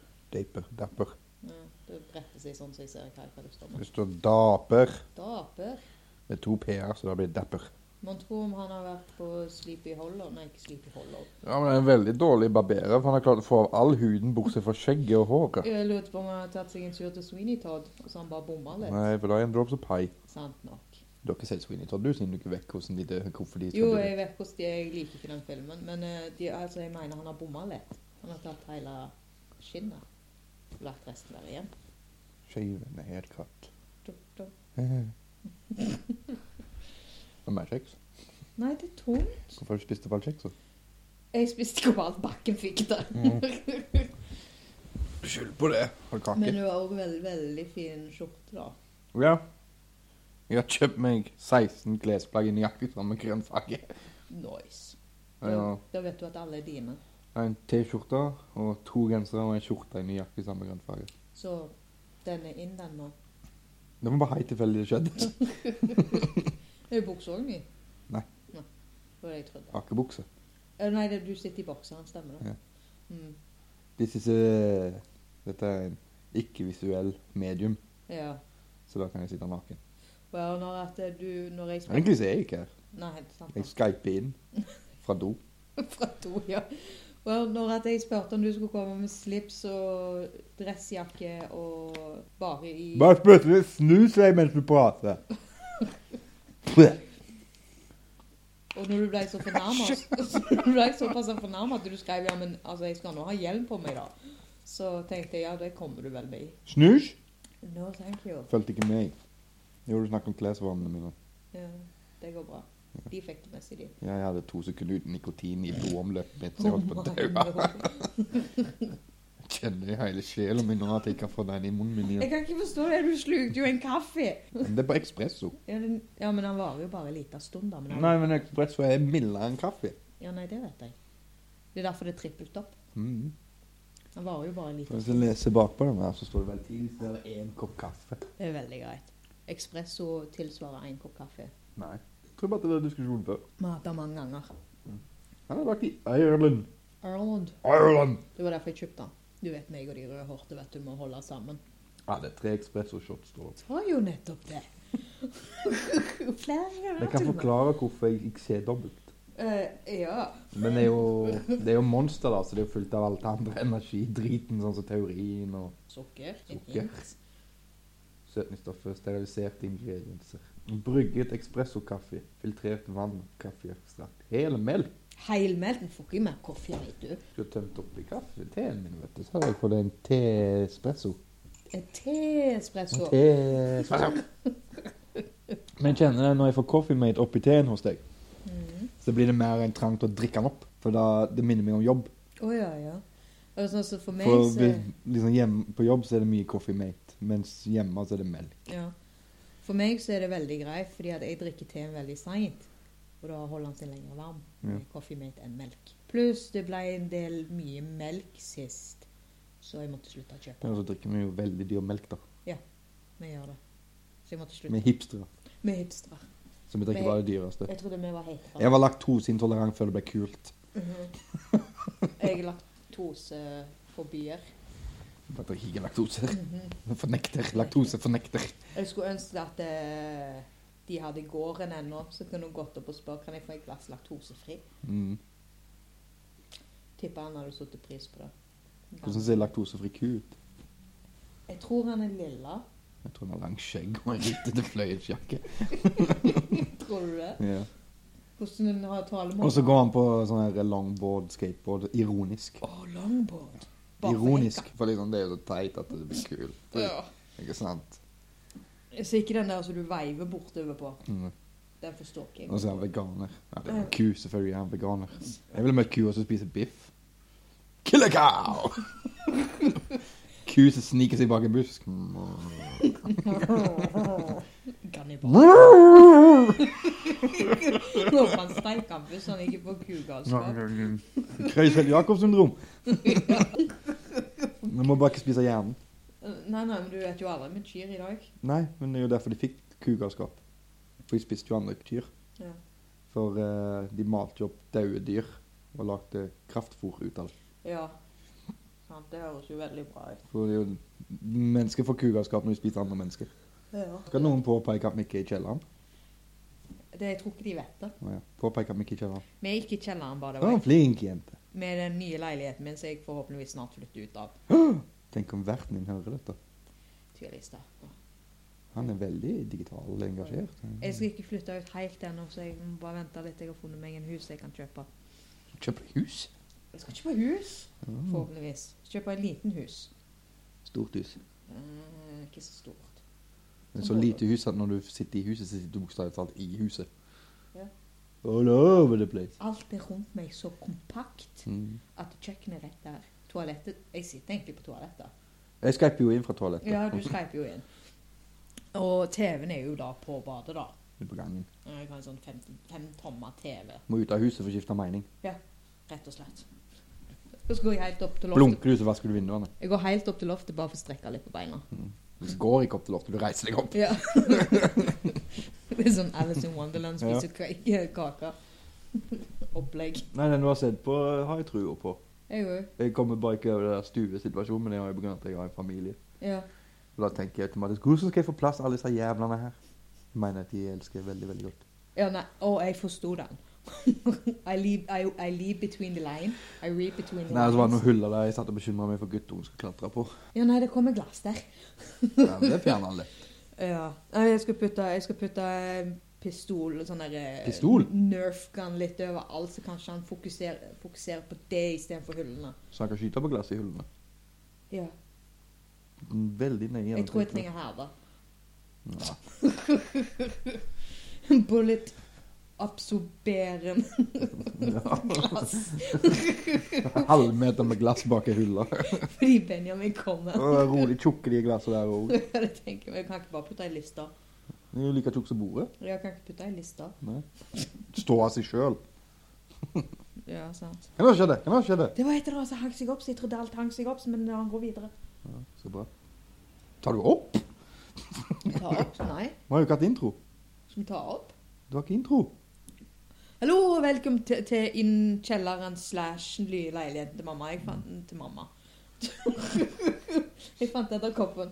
S2: daper. Dapper.
S1: Ja, det retter seg sånn så jeg ser ikke helt hva det står med.
S2: Det står daper
S1: Daper.
S2: med to p-er, så da blir det dapper.
S1: Man tror om han har vært på Sleepy Hollow. Nei, ikke Sleepy Hollow.
S2: Ja, men det er en veldig dårlig barberer, for han har klart å få av all huden bortsett fra skjegget og håret.
S1: Jeg lurte på om han har tatt seg en tur til Sweeney Todd, og så han bare bomma litt.
S2: Nei, for da er en drops of pie.
S1: Sant nok.
S2: Du har ikke sett Sweeney Todd, du, siden du ikke vet hvordan de dør, hvorfor de skal
S1: Jo,
S2: dø.
S1: jeg vet hvordan de er. Jeg liker ikke den filmen, men eh, de, altså, jeg mener han har bomma litt. Han har tatt hele skinnet. og Lagt resten der igjen.
S2: Shaven er helt katt.
S1: Dum, dum.
S2: Og mer kjeks.
S1: Nei, det er tungt.
S2: Hvorfor har du spist opp all kjeksa?
S1: Jeg spiste ikke opp alt bakken fikk der.
S2: Skyld på det. Har du
S1: Men
S2: kake?
S1: det var òg veldig, veldig fin skjorte, da.
S2: Ja. Jeg har kjøpt meg 16 klesplagg i nøyaktig samme grønn farge.
S1: Nice. Da,
S2: Ja.
S1: da vet du at alle er dine.
S2: En T-skjorte og to gensere og en skjorte i nøyaktig samme grønn farge.
S1: Så den er inn, den nå.
S2: Det var bare helt tilfeldig det skjedde.
S1: Er det buksa òg ny?
S2: Nei.
S1: Nei. Det var det jeg trodde.
S2: Akebukse.
S1: Eh, Nei, det, du sitter i bokseren, stemmer det?
S2: Ja.
S1: Mm.
S2: This is a... Dette er en ikke-visuell medium,
S1: ja.
S2: så da kan jeg sitte naken.
S1: Bare når at eh, du Når jeg spiller
S2: Egentlig så er jeg ikke her.
S1: Nei, helt sant.
S2: Jeg skyper inn fra do.
S1: Fra to, ja. Well, når at jeg spurte om du skulle komme med slips og dressjakke og bare i
S2: Bare plutselig snus deg mens du prater.
S1: Og når du ble så fornærmet, når du ble såpass fornærmet at du skrev ja, men altså, jeg skal nå ha hjelm på meg, da. Så tenkte jeg ja, det kommer du vel med i.
S2: Snus?
S1: No, thank you.
S2: Følte ikke meg. Jo, du snakket om klesvarmene mine.
S1: Ja, det går bra. De fikk det meste, de.
S2: Jeg hadde to sekunder uten nikotin i blodomløpet mitt, så jeg holdt på å
S1: Oh
S2: daua. Jeg Kjenner i hele sjelen min nå at jeg ikke har fått den i munnen min
S1: Jeg
S2: igjen.
S1: kan ikke forstå det, du slukte jo en kaffe!
S2: Men det er bare espresso.
S1: Ja, den, ja men den varer jo bare en liten stund, da. Men den,
S2: Nei, men espresso er mildere enn kaffe.
S1: Ja, nei, det vet jeg. Det er derfor det er trippelt opp.
S2: Mm.
S1: Den varer jo bare en liten
S2: Hvis jeg leser bakpå den her, så står det vel til så er det én kopp kaffe.
S1: Det er veldig greit. Espresso tilsvarer én kopp kaffe.
S2: Nei. Jeg tror bare det var diskusjonen før.
S1: Vi har hatt det mange ganger.
S2: Han er lagt i Ireland.
S1: Ireland.
S2: Ireland!
S1: Det var derfor jeg kjøpte den. Du vet meg og de rødhårte, vet du, må holde sammen.
S2: Ja, det er tre espresso shots, står det.
S1: Det var jo nettopp det. Flere ganger.
S2: Jeg kan
S1: til og med.
S2: forklare hvorfor jeg ikke ser dobbelt.
S1: Eh, ja.
S2: Men det er jo, det er jo monster, da, så det er jo fullt av alt det andre energidriten, sånn som teorien og
S1: Sukker.
S2: Sukker.
S1: Sukker.
S2: Søtningsstoffer, steriliserte ingredienser. Brygget espressokaffe, filtrert vann, kaffeekstrakt, hel melk.
S1: Heilmeldt? Du får ikke mer kaffe, vet du.
S2: Skulle tømt opp i kaffeteen min, vet du. Så hadde jeg på den te-espresso.
S1: En teespresso.
S2: Te-espresso. Men kjenner du når jeg får Coffee Mate oppi teen hos deg,
S1: Mhm.
S2: så blir det mer en trang til å drikke den opp. For da, det minner meg om jobb.
S1: Å ja, ja. Og sånn som for meg,
S2: For
S1: så
S2: ved- liksom hjemme, på jobb så er det mye Coffee Mate, mens hjemme så er det melk.
S1: Ja. For meg så er det veldig greit, fordi at jeg drikker teen veldig seint. Og da holder den seg lenger varm med Coffee-mate enn melk. Pluss det ble en del mye melk sist, så jeg måtte slutte å kjøpe.
S2: Og så drikker vi jo veldig dyr melk, da.
S1: Vi gjør det. Så jeg måtte
S2: Med
S1: slutte.
S2: hipstere.
S1: Med hipstere.
S2: Så vi drikker
S1: Med-
S2: bare det dyreste.
S1: Jeg trodde vi var hetere.
S2: Jeg var laktoseintolerant før det ble kult.
S1: Mhm. Jeg er laktosefobier.
S2: Jeg drikker ikke laktose.
S1: Mhm.
S2: Fornekter. Laktose fornekter.
S1: Jeg skulle ønske at eh, de hadde gården ennå, så kunne hun gått opp og spurt kan jeg få et glass laktosefri.
S2: Mm.
S1: Tipper han hadde satt pris på det.
S2: Hvordan ser laktosefri ku ut?
S1: Jeg tror han er lilla.
S2: Jeg tror han har langt skjegg og en rutete fløyelsjakke.
S1: Tror du det?
S2: Ja.
S1: Hvordan hun har talemål?
S2: Og så går han på sånn her longboard, skateboard. Ironisk.
S1: Å, longboard. Bare for
S2: Ironisk. For liksom, det er jo så teit at det blir kult.
S1: ekka.
S2: Ikke sant?
S1: Ja. Så ikke den der som du veiver bortover på.
S2: Mm.
S1: Den forstår ikke jeg.
S2: Og så er han veganer. Ja, det er en ku, selvfølgelig er han veganer. Jeg ville møtt kua som spiser biff. Kill a cow! ku som sniker seg bak en busk.
S1: Kannibal. Når man steiker den så han ikke får kugalskap.
S2: Krøysel Jacobs syndrom. Du må bare ikke spise hjernen.
S1: Eh, Nei, nei, men du vet jo aldri med kyr i dag.
S2: Nei, men det er jo derfor de fikk kugalskap. For de spiste jo andre dyr.
S1: Ja.
S2: For eh, de malte jo opp døde dyr og lagde kraftfôr ut av det.
S1: ja. Sant, det høres jo veldig bra ut.
S2: For det er jo mennesker får kugalskap når de spiser andre mennesker. Skal noen påpeke at vi ikke er i kjelleren?
S1: Det, jeg tror ikke de vet det.
S2: Å ja. Påpeke at vi ikke er i kjelleren.
S1: Vi er ikke i kjelleren, by the
S2: Hun var
S1: way.
S2: en flink jente.
S1: Med den nye leiligheten min, som jeg forhåpentligvis snart flytter ut av.
S2: Tenk om verten din hører dette.
S1: Tydeligvis da.
S2: Han er veldig digital engasjert.
S1: Jeg skal ikke flytte ut helt ennå, så jeg må bare vente litt. Jeg har funnet meg en hus jeg kan kjøpe.
S2: Kjøp hus.
S1: Jeg skal kjøpe hus,
S2: Ja,
S1: forhåpentligvis. Kjøpe en liten hus.
S2: Stort hus.
S1: Eh, ikke så stort.
S2: Men så lite hus at når du sitter i huset, så sitter du bokstavelig talt i huset.
S1: Ja.
S2: All over the place.
S1: Alt er rundt meg så kompakt
S2: Mm.
S1: at kjøkkenet er rett der. Toalettet Jeg sitter egentlig på toalettet.
S2: Jeg skyper jo inn fra toalettet.
S1: Ja, du skreiper jo inn. Og TV-en er jo da på badet, da.
S2: Ut på gangen.
S1: Jeg har en sånn fem, fem tommer TV,
S2: Må ut av huset for å skifte mening.
S1: rett og slett. Og så går jeg helt opp til loftet.
S2: Blunker du, så vasker du vinduene.
S1: Jeg går helt opp til loftet bare for å strekke litt på beina.
S2: Du går ikke opp til loftet, du reiser deg opp.
S1: Ja. det er sånn Alice in Wonderland spiser kake- kaker. Opplegg.
S2: Nei, den du har sett på, har jeg trua på.
S1: Jeg òg.
S2: Jeg kommer bare ikke over det der stuesituasjonen, men jeg har jo begrunnet at jeg har en familie.
S1: Ja.
S2: Og da tenker jeg automatisk Hvordan skal jeg få plass til alle disse jævlene her? Jeg mener at de elsker veldig, veldig godt.
S1: ja, nei. Å, jeg forsto den. I, leave, I, I leave between the line. I read between the
S2: Nei, så var det
S1: lines.
S2: noen huller der jeg satt og bekymra meg for guttungen skulle klatre på.
S1: Ja, nei, det kommer glass der.
S2: Ja, men det fjerner han lett.
S1: Ja. Nei, Jeg skal putte, jeg skal putte eh, pistol og sånn der eh,
S2: Pistol?
S1: Nerf gun litt overalt, så kanskje han fokuserer, fokuserer på det istedenfor hullene.
S2: Så han kan skyte på glasset i hullene.
S1: Ja.
S2: Veldig nøye.
S1: Jeg tror jeg trenger her, da.
S2: Ja.
S1: Bullet absorberende glass.
S2: Halvmeter med glass bak i hylla.
S1: Fordi Benjamin kommer.
S2: Og Rolig tjukke de glassene der òg.
S1: Jeg tenker, jeg kan ikke bare putte ei liste.
S2: De er jo like tjukke som bordet.
S1: Jeg kan ikke putte ei liste.
S2: Nei. Stå av seg sjøl.
S1: Ja, sant.
S2: Kan det skjedde? Kan det skjedde?
S1: Det var et eller annet som hang seg opp, så jeg trodde alt hang seg opp, men han går videre.
S2: Ja, så bra. Tar du opp?
S1: Ta opp? Nei.
S2: Vi har jo ikke hatt intro.
S1: Skal vi ta opp?
S2: Du har ikke intro.
S1: Hallo, og velkommen til, til inn kjelleren slash den nye leiligheten til mamma. Jeg fant den til mamma. jeg fant edderkoppen.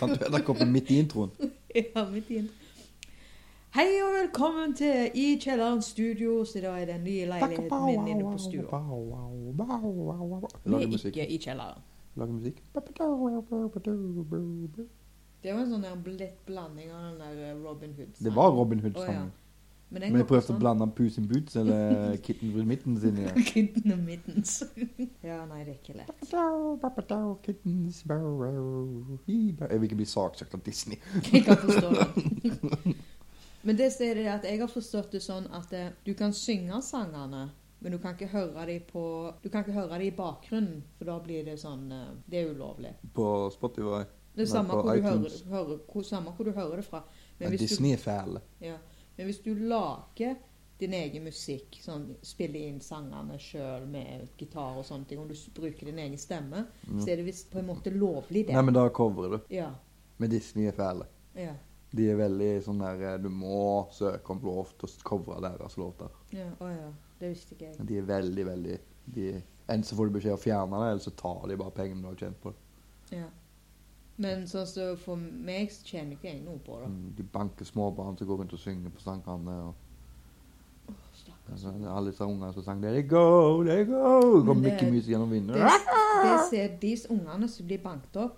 S2: Fant du edderkoppen midt i introen?
S1: Ja, midt i den. Hei og velkommen til I kjelleren studio, så da er den nye leiligheten min inne på stua.
S2: stua.
S1: Vi
S2: Lager
S1: er
S2: musikk.
S1: ikke i kjelleren.
S2: Lager musikk.
S1: Det er jo en sånn der lett blanding av den der eh, Robin Hood.
S2: Det var Robin Hood-sangen.
S1: Men, sånn
S2: Men jeg prøvde å blande Puss in Boots eller Kitten with Mittens inn i det.
S1: Kitten og mittens. ja, nei, det er ikke lett.
S2: Papadow, papadow, kittens, barrow, he barrow. Jeg vil ikke bli saksøkt av Disney.
S1: Jeg kan forstå det. Men det som er det at jeg har forstått det sånn at eh, du kan synge sangene, men du kan ikke høre dem på Du kan ikke høre dem i bakgrunnen, for da blir det sånn eh, Det er ulovlig.
S2: På Spotify.
S1: Det er
S2: Nei,
S1: samme
S2: på
S1: hvor, du hører,
S2: iTunes.
S1: hører, hvor, samme hvor du hører det fra.
S2: Men
S1: Men hvis, du,
S2: Disney er fæle.
S1: ja, men hvis du lager din egen musikk, sånn, spiller inn sangene sjøl med gitar og sånne ting, og du s- bruker din egen stemme, så er det visst på en måte lovlig, det.
S2: Mm. Nei, men da coverer du.
S1: Ja,
S2: Men Disney er fæle.
S1: ja,
S2: De er veldig sånn der eh, Du må søke om lov til å covre deres låter.
S1: ja. Å ja. Det visste ikke jeg.
S2: De er veldig, veldig de, Enten så får du beskjed å fjerne det, eller så tar de bare pengene du har tjent på det.
S1: Ja. Men sånn så for meg så tjener ikke jeg noe på det.
S2: Mm, De banker småbarn som går rundt og synger på sangene. Og,
S1: Åh, stakkars.
S2: altså, alle disse ungene som sang 'There they go, there they go'. Går
S1: Men det-
S2: Mickey Mouse gjennom vinduet.
S1: Det, det ser de ungene som blir banket opp,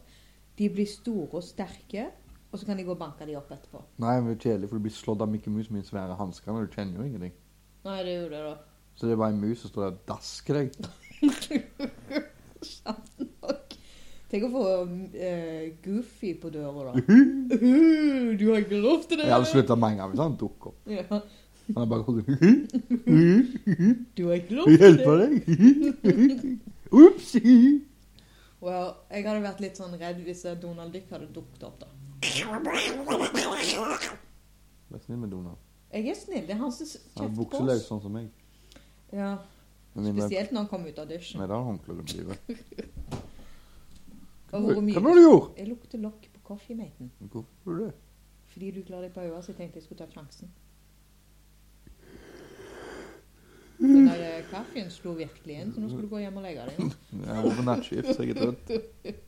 S1: de blir store og sterke, og så kan de gå og banke de opp etterpå.
S2: Nei, men det er kjedelig, for du blir slått av Mickey Mouse med en svære hansker, og du kjenner jo ingenting.
S1: Nei, det er jo det, da.
S2: Så det er bare en mus som står der og dasker deg.
S1: Sant nok. Tenk å få eh, Goofy på døra, da. du har ikke lov til det!
S2: Jeg hadde slutta mange ganger hvis han dukket opp.
S1: Ja,
S2: Han hadde bare gått Mm.
S1: du har ikke lov
S2: Vi
S1: til det!
S2: hjelper deg! Ops!
S1: Well, jeg hadde vært litt sånn redd hvis eh, Donald Dick hadde dukket opp, da.
S2: Vær snill med Donald.
S1: Jeg er snill. Det er han som
S2: Han er
S1: kjefter på
S2: bukseløs
S1: oss.
S2: sånn som meg.
S1: Ja,
S2: Med mindre-
S1: Spesielt når han kom ut av dusjen.
S2: Nei, da har han håndkle rundt livet.
S1: Og hvor mye-
S2: Hva var det du gjorde?
S1: Jeg lukter lokk på coffeematen.
S2: Hvorfor gjorde du det?
S1: Fordi du klarer deg på øynene, så jeg tenkte jeg skulle ta sjansen. Den der eh, kaffen slo virkelig inn, så nå skal du gå hjem og legge deg.
S2: Jeg var på nattskift, så jeg er trøtt.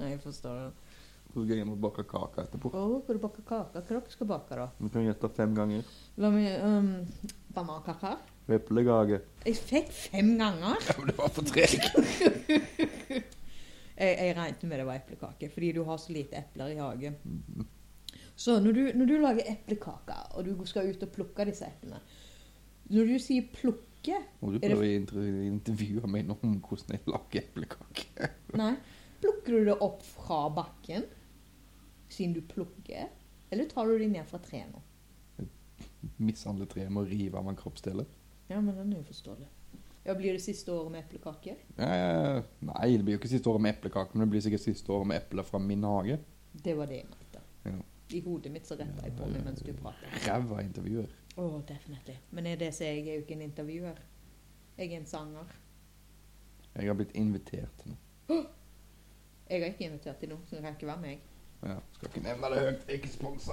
S1: Nei, jeg forstår det.
S2: Så skal jeg hjem og bake kake etterpå.
S1: Å, skal du bake kake? Hva dere skal bake, da?
S2: Du kan gjette fem ganger.
S1: La meg um, Banankake?
S2: Eplekake.
S1: Jeg fikk fem ganger.
S2: Ja, men det var for tre.
S1: Jeg, jeg regnet med det var eplekake, fordi du har så lite epler i hagen. Så når du, når du lager eplekake, og du skal ut og plukke disse eplene Når du sier 'plukke'
S2: Må du
S1: Er det-
S2: prøve å inter- intervjue meg nå om hvordan jeg lager eplekake?
S1: Nei. Plukker du det opp fra bakken, siden du plukker, eller tar du det ned fra treet nå?
S2: Mishandle treet med å rive av en kroppsdel?
S1: Ja, men den er jo forståelig. Ja, Blir det siste året med eplekake?
S2: Eh, nei, det blir jo ikke siste året med eplekake, men det blir sikkert siste året med epler fra min hage.
S1: Det var det jeg mente.
S2: Ja.
S1: I hodet mitt så retta jeg på meg mens du prater.
S2: Ræva intervjuer.
S1: Å, definitely. Men er det så jeg er jo ikke en intervjuer. Jeg er en sanger.
S2: Jeg har blitt invitert til noe.
S1: Jeg har ikke invitert til noe, så det kan ikke være meg.
S2: Ja, skal ikke nevne det høyt. Jeg er ikke sponsa.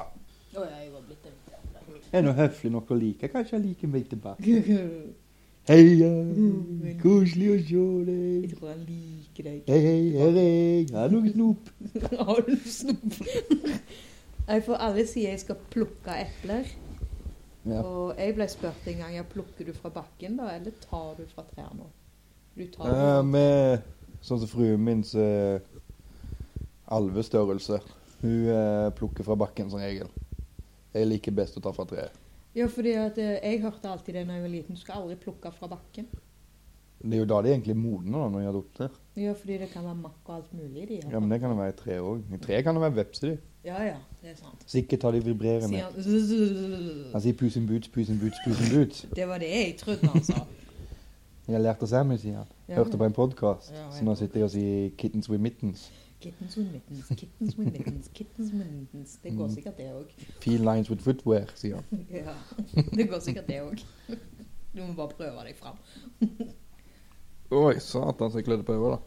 S1: Å ja, jeg var blitt invitert.
S2: Er nå høflig nok å like. Kanskje jeg liker meg tilbake.
S1: jeg
S2: Heia,
S1: Mm.
S2: koselig å se deg.
S1: tror han liker deg.
S2: Hei, hei, her er jeg. Har du noe snop?
S1: Har du snop? Nei, for alle sier jeg skal plukke epler.
S2: Ja.
S1: Og jeg ble spurt en gang ja, plukker du fra bakken da, eller tar du fra trærne? Du tar
S2: Eh,
S1: det.
S2: med sånn som fruen min så er alvestørrelse. Hun eh, plukker fra bakken som regel. Jeg liker best å ta fra treet.
S1: Ja, fordi at eh, jeg hørte alltid det da jeg var liten. Du skal aldri plukke fra bakken.
S2: Det er jo da de egentlig er modne, da, når de adopterer.
S1: Ja, fordi det kan være makk og alt mulig i de. her.
S2: Ja, men det kan det være i tre òg. I tre kan det være veps i de.
S1: ja, ja, det er sant.
S2: Sikkert har de vibrerende.
S1: Sier han
S2: Han sier 'pus in boots, pus in boots, pus in boots'.
S1: Det var det jeg trodde han sa.
S2: Jeg har lært å se meg, sier han.
S1: Ja,
S2: Hørte på en podkast,
S1: Ja,
S2: så nå sitter jeg og sier 'kittens with mittens'.
S1: Kittens with mittens, kittens with mittens, kittens with mittens. Det går
S2: Mm.
S1: sikkert det òg.
S2: Feel lines with footwear, sier han.
S1: Ja, det går sikkert det òg. Du må bare prøve deg fram.
S2: Oi, satan, så jeg klødde på øret, da.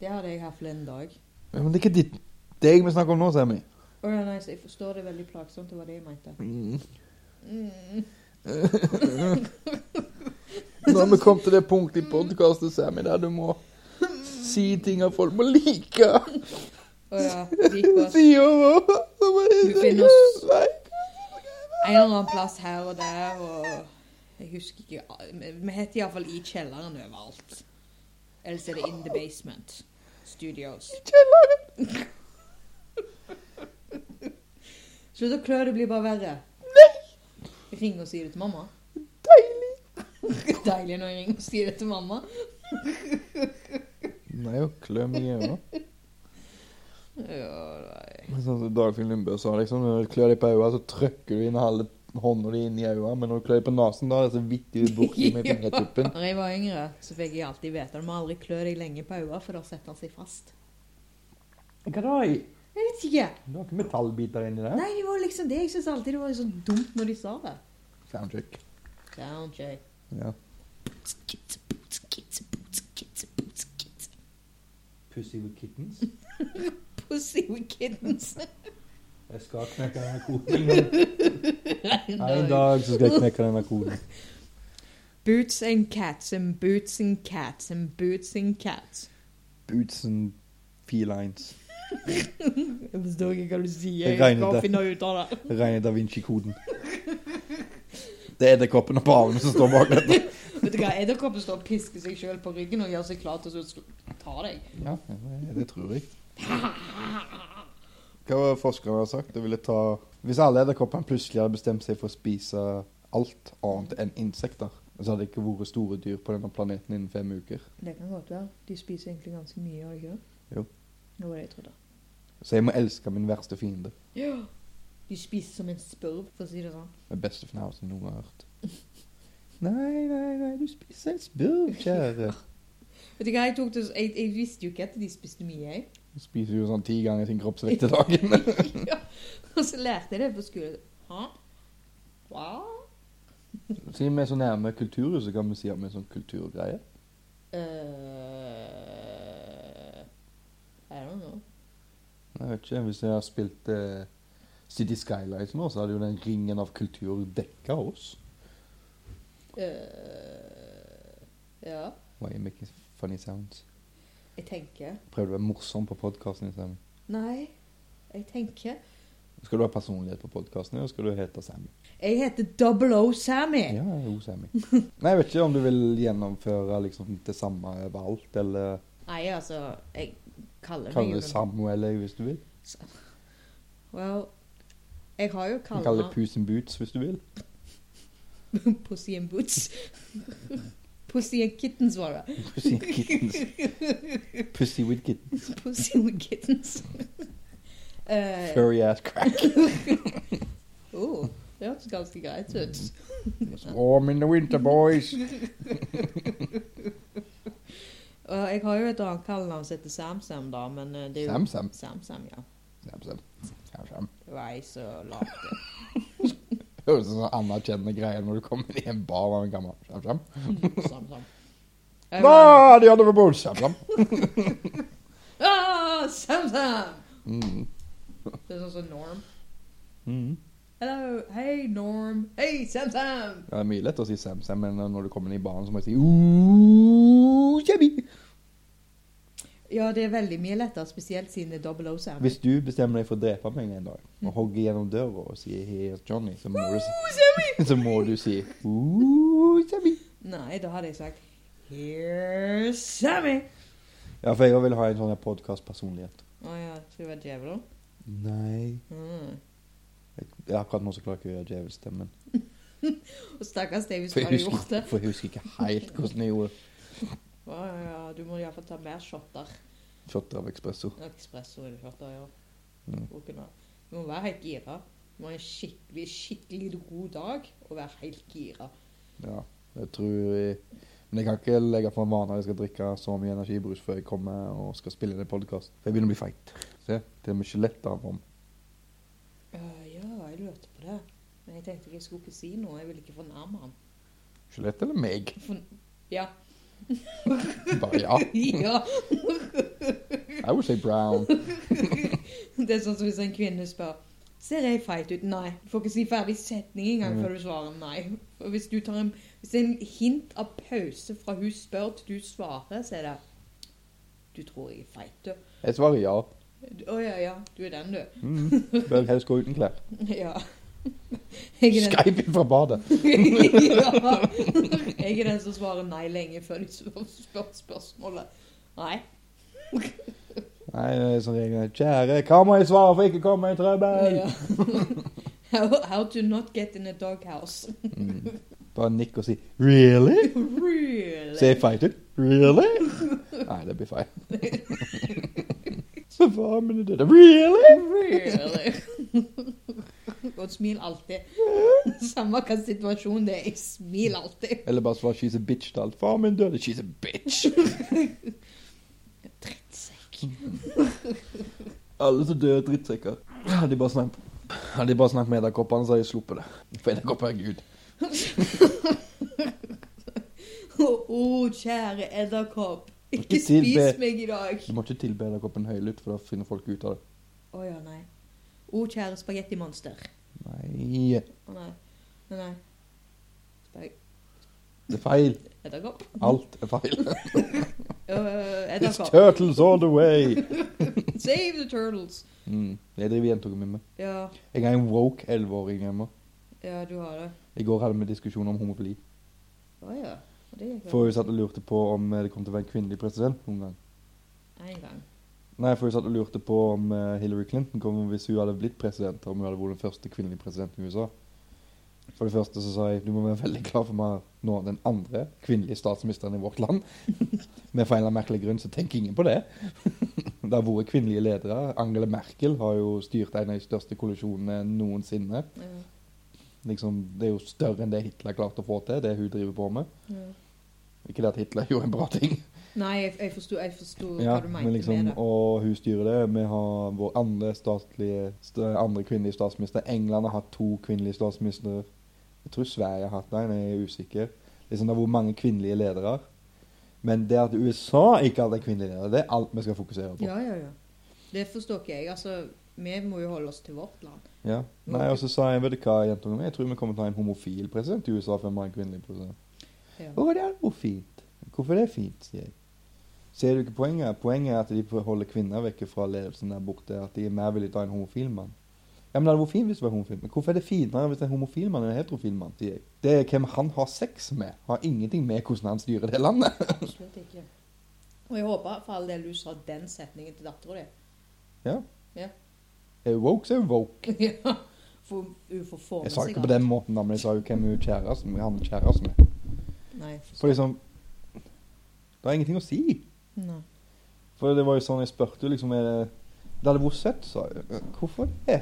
S1: Det hadde jeg her forleden dag.
S2: Ja, Men det er ikke ditt deg vi snakker om nå, Sammy.
S1: Å ja, nei, så jeg forstår det er veldig plagsomt. Det var det jeg mente.
S2: Mm.
S1: Mm.
S2: Når vi kom til det punktet i podkasten, Sammy, der du må si ting at folk må like
S1: Å ja, det gikk på
S2: Si over så må jeg-
S1: Du finner oss.
S2: Like.
S1: en eller annen plass her og der, og jeg husker ikke men Vi heter iallfall I kjelleren overalt. Ellers er det In The Basement Studios.
S2: Kjelleren.
S1: Slutt å klø, det blir bare verre. Nei! Ring og si det til mamma. Deilig! Deilig når jeg ringer og sier det til mamma.
S2: Nei, å klø meg i øynene.
S1: Ja, nei.
S2: Men Sånn som Dagfinn Lundbø sa, liksom. Når du klør deg på øynene, så trykker du inn halve hånda di inn i øynene. Men når du klør deg på nesen, da er det så vidt du borti med fingertuppen.
S1: Når jeg var yngre, så fikk jeg alltid vite at du må aldri klø deg lenge på øynene, for da setter han seg fast.
S2: Hva da?
S1: Jeg vet ikke.
S2: Det var ikke metallbiter inni der?
S1: Nei, det var liksom det. Jeg syns alltid det var så dumt når de sa det.
S2: Soundcheck.
S1: Soundcheck.
S2: Ja. Pussy with kittens.
S1: Pussy with kittens.
S2: Jeg skal knekke denne koden. En dag så skal jeg knekke denne koden.
S1: Boots and cats and boots and cats and boots and cats.
S2: Boots and felines.
S1: Jeg forstår ikke hva du sier.
S2: Jeg
S1: Jeg
S2: regnet
S1: skal
S2: det.
S1: finne ut av det.
S2: Reine da Vinci-koden. Det er edderkoppen og paven som står bak dette.
S1: Vet du hva, Edderkoppen står og pisker seg sjøl på ryggen og gjør seg klar til å ta deg.
S2: Ja, det tror jeg. Hva var det forskerne har sagt? Det ville ta Hvis alle edderkoppene plutselig hadde bestemt seg for å spise alt annet enn insekter, så hadde det ikke vært store dyr på denne planeten innen fem uker.
S1: Det kan godt være. De spiser egentlig ganske mye, gjør de ikke det?
S2: Jo.
S1: Det var det jeg trodde.
S2: Så jeg må elske min verste fiende.
S1: Ja. De spiser som en spurv, for å si det sånn.
S2: Den beste fornærmelsen jeg noen gang har hørt. Nei, nei, nei, du spiser en spurv, kjære.
S1: Vet du hva, jeg, tok det, så- jeg, jeg visste jo ikke at de spiste mye, jeg.
S2: Du spiser jo sånn ti ganger sin kroppsvekt i dagen.
S1: ja. Og så lærte jeg det på skolen. Hæ? Wow.
S2: Siden vi er så nærme kulturhuset, så kan vi si at vi er sånn kulturgreie.
S1: Eh, Uh, I don't know.
S2: Jeg vet ikke, Hvis jeg har spilt eh, City Skylines nå, så hadde jo den ringen av kultur dekka oss.
S1: Eh, ja.
S2: Why you making funny sounds?
S1: Jeg tenker
S2: Prøvde å være morsom på podkasten.
S1: Nei, jeg tenker
S2: Skal du ha personlighet på podkasten, eller skal du hete Sammy?
S1: Jeg heter Double O Sammy.
S2: Ja, jeg er jo Sammy. Nei, Jeg vet ikke om du vil gjennomføre liksom det samme overalt, eller
S1: Nei, altså Jeg kaller meg
S2: kalle det Samuel jeg, hvis du vil.
S1: Well, jeg har jo
S2: Du kan kalle det
S1: kalla
S2: Puss in Boots hvis du vil.
S1: Pussy and Boots. Pussy and Kittens, var det.
S2: Pussy and kittens. Pussy with kittens.
S1: Pussy with Kittens. Eh,
S2: Furry ass crack.
S1: oh, det hørtes ganske greit ut.
S2: It's warm in the winter, boys.
S1: Og jeg har jo et annet kallenavn som heter Samsam, da, men eh, det er jo
S2: Sam-Sam.
S1: Samsam, ja.
S2: Sam, Sam. Sam, Sam.
S1: Det var jeg som lagde det.
S2: Høres ut som sånn anerkjennende greier når du kommer i en bar med en gammel Sam Sam.
S1: Samsam. Jeg var- sånn,
S2: Hva er det andre på bordet? Sam Sam.
S1: Ah, Samsam!
S2: Mm.
S1: Det er sånn som Norm.
S2: Mm.
S1: Hello, hey Norm, hey Samsam!
S2: Ja, det er mye lett å si Sam Sam, men når du kommer inn i baren, så må jeg si «Ooh, Sammy!»
S1: Ja, det er veldig mye lettere, spesielt siden det er Double O Sam.
S2: Hvis du bestemmer deg for å drepe meg en dag, og hogger gjennom døra og sier «Here's Johnny», så må du si,
S1: Oh, Sammy!
S2: så må du si «Ooh, Sammy!»
S1: Nei, da hadde jeg sagt Here's Sammy!
S2: Ja, for jeg også vil ha en sånn her podcast-personlighet.
S1: Å ja, skal det være djevelen?
S2: Nei.
S1: Mm.
S2: Jeg, akkurat nå så klarer jeg ikke å gjøre djevelstemmen.
S1: Og stakkars deg hvis du
S2: For jeg
S1: hadde
S2: husker,
S1: gjort det.
S2: for jeg husker ikke helt hvordan jeg gjorde
S1: Å ja, ja, du må iallfall ta mer shotter.
S2: shotter av espresso.
S1: Espresso eller shotter, ja.
S2: Mm.
S1: Å kunne. Du må være helt gira. Du må ha en skikkelig, skikkelig god dag og være helt gira.
S2: Ja, jeg tror jeg Men jeg kan ikke legge for en vane at jeg skal drikke så mye energibrus før jeg kommer og skal spille inn en podkast. For jeg begynner å bli feit. Se, til og med skjelettet har form.
S1: Øh, ja, jeg lurte på det. Men jeg tenkte ikke jeg skulle ikke si noe. Jeg ville ikke fornærme han.
S2: Skjelett eller meg?
S1: Ja.
S2: Bare ja.
S1: ja.
S2: I would say brown.
S1: Det er sånn som hvis en kvinne spør Ser jeg feit ut? Nei. Du får ikke si ferdig setning engang
S2: Mm.
S1: før du svarer nei. Og hvis du tar en, hvis det er en hint av pause fra hun spør til du svarer, så er det Du tror jeg er feit, du.
S2: Jeg svarer ja.
S1: Å ja, ja. Du er den, du.
S2: Mm. Bør helst gå uten klær.
S1: Ja. Jeg er den,
S2: Skype inn fra badet.
S1: ja. jeg er den som svarer nei lenge før de spør, spør spørsmålet. Nei.
S2: Nei, det er sånn regel. Kjære, hva må jeg svare for ikke å komme i trøbbel?
S1: Ja. how, how to not get in a doghouse.
S2: Mm. Bare nikk og si 'really'? Say
S1: really?
S2: fighter? Really? Nei, det blir feil. Så hva mener du? Really?
S1: really? Og smil alltid. Samme hva situasjonen det er, jeg smil alltid.
S2: Eller bare svar 'she's a bitch' til alt. Far min døde. She's a bitch.
S1: Drittsekk.
S2: Alle som dør, er drittsekker. Hadde de bare snakket Hadde de bare snakket med edderkoppene, så hadde de sluppet det. For edderkopper er gud.
S1: Å, å, kjære edderkopp. Ikke
S2: Ikke til
S1: spis
S2: be-
S1: meg i dag.
S2: Du må ikke tilbe edderkoppen høylytt, for da finner folk ut av det.
S1: Å ja, nei. Å, kjære spagettimonster.
S2: Nei,
S1: Å nei. Nei, nei. Spag-
S2: det er feil.
S1: Edderkopp?
S2: Alt er feil.
S1: Øh,
S2: It's
S1: edderkopp.
S2: turtles all the way.
S1: Save the turtles.
S2: Mm. Det driver jentungen min med.
S1: Ja,
S2: Jeg er en woke 11-åring hjemme.
S1: ja, du har det.
S2: I går hadde vi en diskusjon om homofili.
S1: Å ja. Og Det gikk
S2: For
S1: vel
S2: hun satt og lurte på om eh, det kom til å være en kvinnelig president noen gang.
S1: én gang.
S2: Nei, for hun satt og lurte på om eh, Hillary Clinton kom hvis hun hadde blitt president, om hun hadde vært den første kvinnelige presidenten i USA. For det første så sa jeg du må være veldig klar for meg nå den andre kvinnelige statsministeren i vårt land. Med for en eller annen merkelig grunn så tenker ingen på det. Det har vært kvinnelige ledere. Angela Merkel har jo styrt en av de største kollisjonene noensinne.
S1: Ja,
S2: Liksom, det er jo større enn det Hitler klarte å få til, det hun driver på med.
S1: ja.
S2: Ikke det at Hitler gjorde en bra ting,
S1: Nei, jeg, jeg forsto jeg forsto Mm, hva
S2: Ja,
S1: du mente
S2: men liksom,
S1: med det.
S2: og hun styrer det. Vi har vår andre, statlige, st andre kvinnelige statsminister. England har hatt to kvinnelige statsministre. Jeg tror Sverige har hatt en, jeg er usikker. Liksom, det har vært mange kvinnelige ledere. Men det at USA ikke har hatt en kvinnelig leder, det er alt vi skal fokusere på.
S1: Ja, ja, ja. Det forstår ikke jeg. Altså, vi må jo holde oss til vårt land.
S2: Ja. Nei, Og så sa jeg vet du hva, jentungen min, jeg tror vi kommer til å ha en homofil president i USA før vi har en kvinnelig president.
S1: Ja.
S2: Å, det er jo fint. Hvorfor er det fint, sier jeg. Ser du ikke poenget? Poenget er at de holder kvinner vekk fra ledelsen der borte. At de er mer villige til å ta en homofil mann. Ja, men det hadde vært fint hvis det var homofil. Men hvorfor er det finere hvis det er en homofil mann enn en heterofil mann, sier jeg. Det er hvem han har sex med. Har ingenting med hvordan han styrer det landet.
S1: Absolutt ikke. Og jeg håper for all del du sa den setningen til dattera di.
S2: Er hun woke, så er hun woke.
S1: Ja, For hun får få med
S2: Jeg sa
S1: seg
S2: ikke på den måten, da, men jeg sa jo hvem hun kjæresten han er kjæresten med.
S1: Nei.
S2: For liksom Det har ingenting å si.
S1: Nei.
S2: For det var jo sånn jeg spurte jo liksom er det, det hadde vært søtt, sa jeg. Hvorfor det?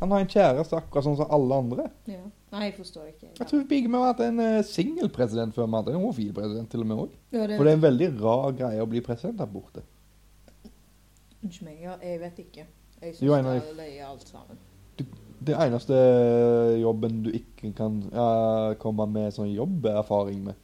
S2: Han har en kjæreste akkurat sånn som alle andre.
S1: Ja. Nei, jeg forstår ikke.
S2: Jeg tror vi har hatt en eh, singelpresident før vi hadde en homofil president til og med òg.
S1: Ja, det,
S2: For det er en veldig rar greie å bli president der borte.
S1: Unnskyld meg, ja, jeg vet ikke. Jeg
S2: Du er en
S1: syns det
S2: av
S1: er løye alt sammen.
S2: Det eneste eh, jobben du ikke kan eh, komme med sånn jobberfaring med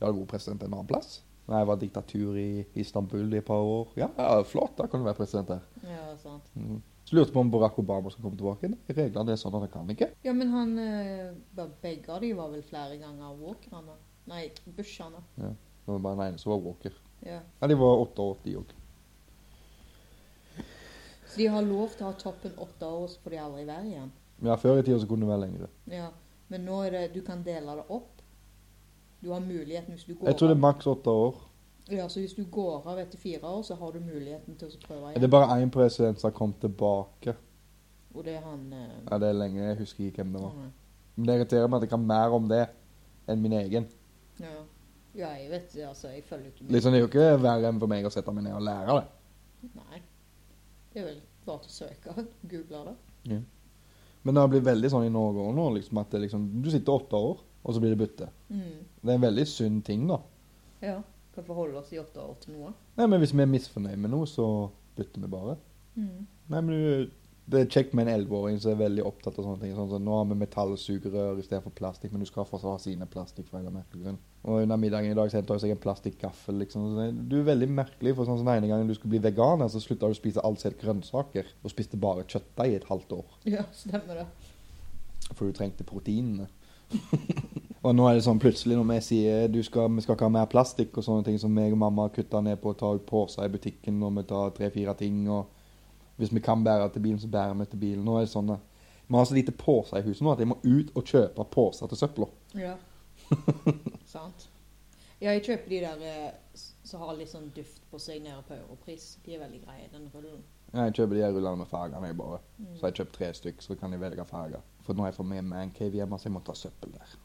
S2: Jeg hadde vært president en annen plass. Når jeg var diktatur i Istanbul i et par år. Ja, ja flott, da kan du være president der.
S1: Ja, sant.
S2: Mm. Så lurte jeg på om Barack Obama skal komme tilbake. Nei, Reglene er sånn at han kan ikke.
S1: Ja, men han eh, bare- Begge av de var vel flere ganger walkerne. Nei, bushene.
S2: Det var bare den ene som var Walker.
S1: Ja.
S2: Ja, de var 88 òg.
S1: Så de har lov til å ha toppen åtte år, så får de aldri være igjen.
S2: Ja, før i tida så kunne det være lengre.
S1: Ja. Men nå er det Du kan dele det opp. Du har muligheten hvis du går
S2: Jeg tror det er maks åtte år.
S1: Ja, så hvis du går av etter fire år, så har du muligheten til å prøve
S2: Er det
S1: igjen.
S2: bare én president som har kommet tilbake?
S1: Og det er han eh,
S2: Ja, det er lenge. Jeg husker ikke hvem det var.
S1: han er.
S2: Men det irriterer meg at jeg kan mer om det enn min egen.
S1: ja. ja, jeg vet det, altså. Jeg følger ikke med.
S2: Liksom, Det er jo ikke verre enn for meg å sette meg ned og lære det.
S1: Nei. Det er vel bare til å søke. Google det.
S2: Men det har blitt veldig sånn i Norge også nå, liksom, at det liksom, du sitter åtte år, og så blir det bytte.
S1: Mm.
S2: Det er en veldig sunn ting, da.
S1: Ja. Kan forholde oss i åtte år til noe.
S2: Nei, men Hvis vi er misfornøyd med noe, så bytter vi bare.
S1: Mm.
S2: Nei, men du, Det er kjekt med en 11-åring som er veldig opptatt av sånne ting. Sånn som nå har vi metallsugerør istedenfor plastikk, men du skal fortsatt ha sine plastikk. for en eller annen merkelig grunn. Og Under middagen i dag så henta jeg seg en plastikkgaffel. liksom. Så det- Du er veldig merkelig. for sånn som Den ene gangen du skulle bli veganer, så slutta du å spise alt som het grønnsaker, og spiste bare kjøttdeig i et halvt år.
S1: Ja, stemmer det.
S2: For du trengte proteinene. og nå er det sånn plutselig når vi sier du skal, vi skal ikke ha mer plastikk og sånne ting som meg og mamma kutter ned på å ta ut poser i butikken når vi tar tre-fire ting. og Hvis vi kan bære til bilen, så bærer vi til bilen. Nå er det sånn at Vi har så lite poser i huset nå at jeg må ut og kjøpe poser til søpla.
S1: Ja. Sant. Ja, jeg kjøper de der eh, s- som har litt sånn duft på seg nede på europris. De er veldig greie, den rullen.
S2: Ja, Jeg kjøper de her rullene med fargene, jeg bare.
S1: Mm.
S2: Så jeg kjøper tre stykk, så kan jeg velge farger. For nå har jeg fått med meg en cave hjemme, så jeg må ta søppel der.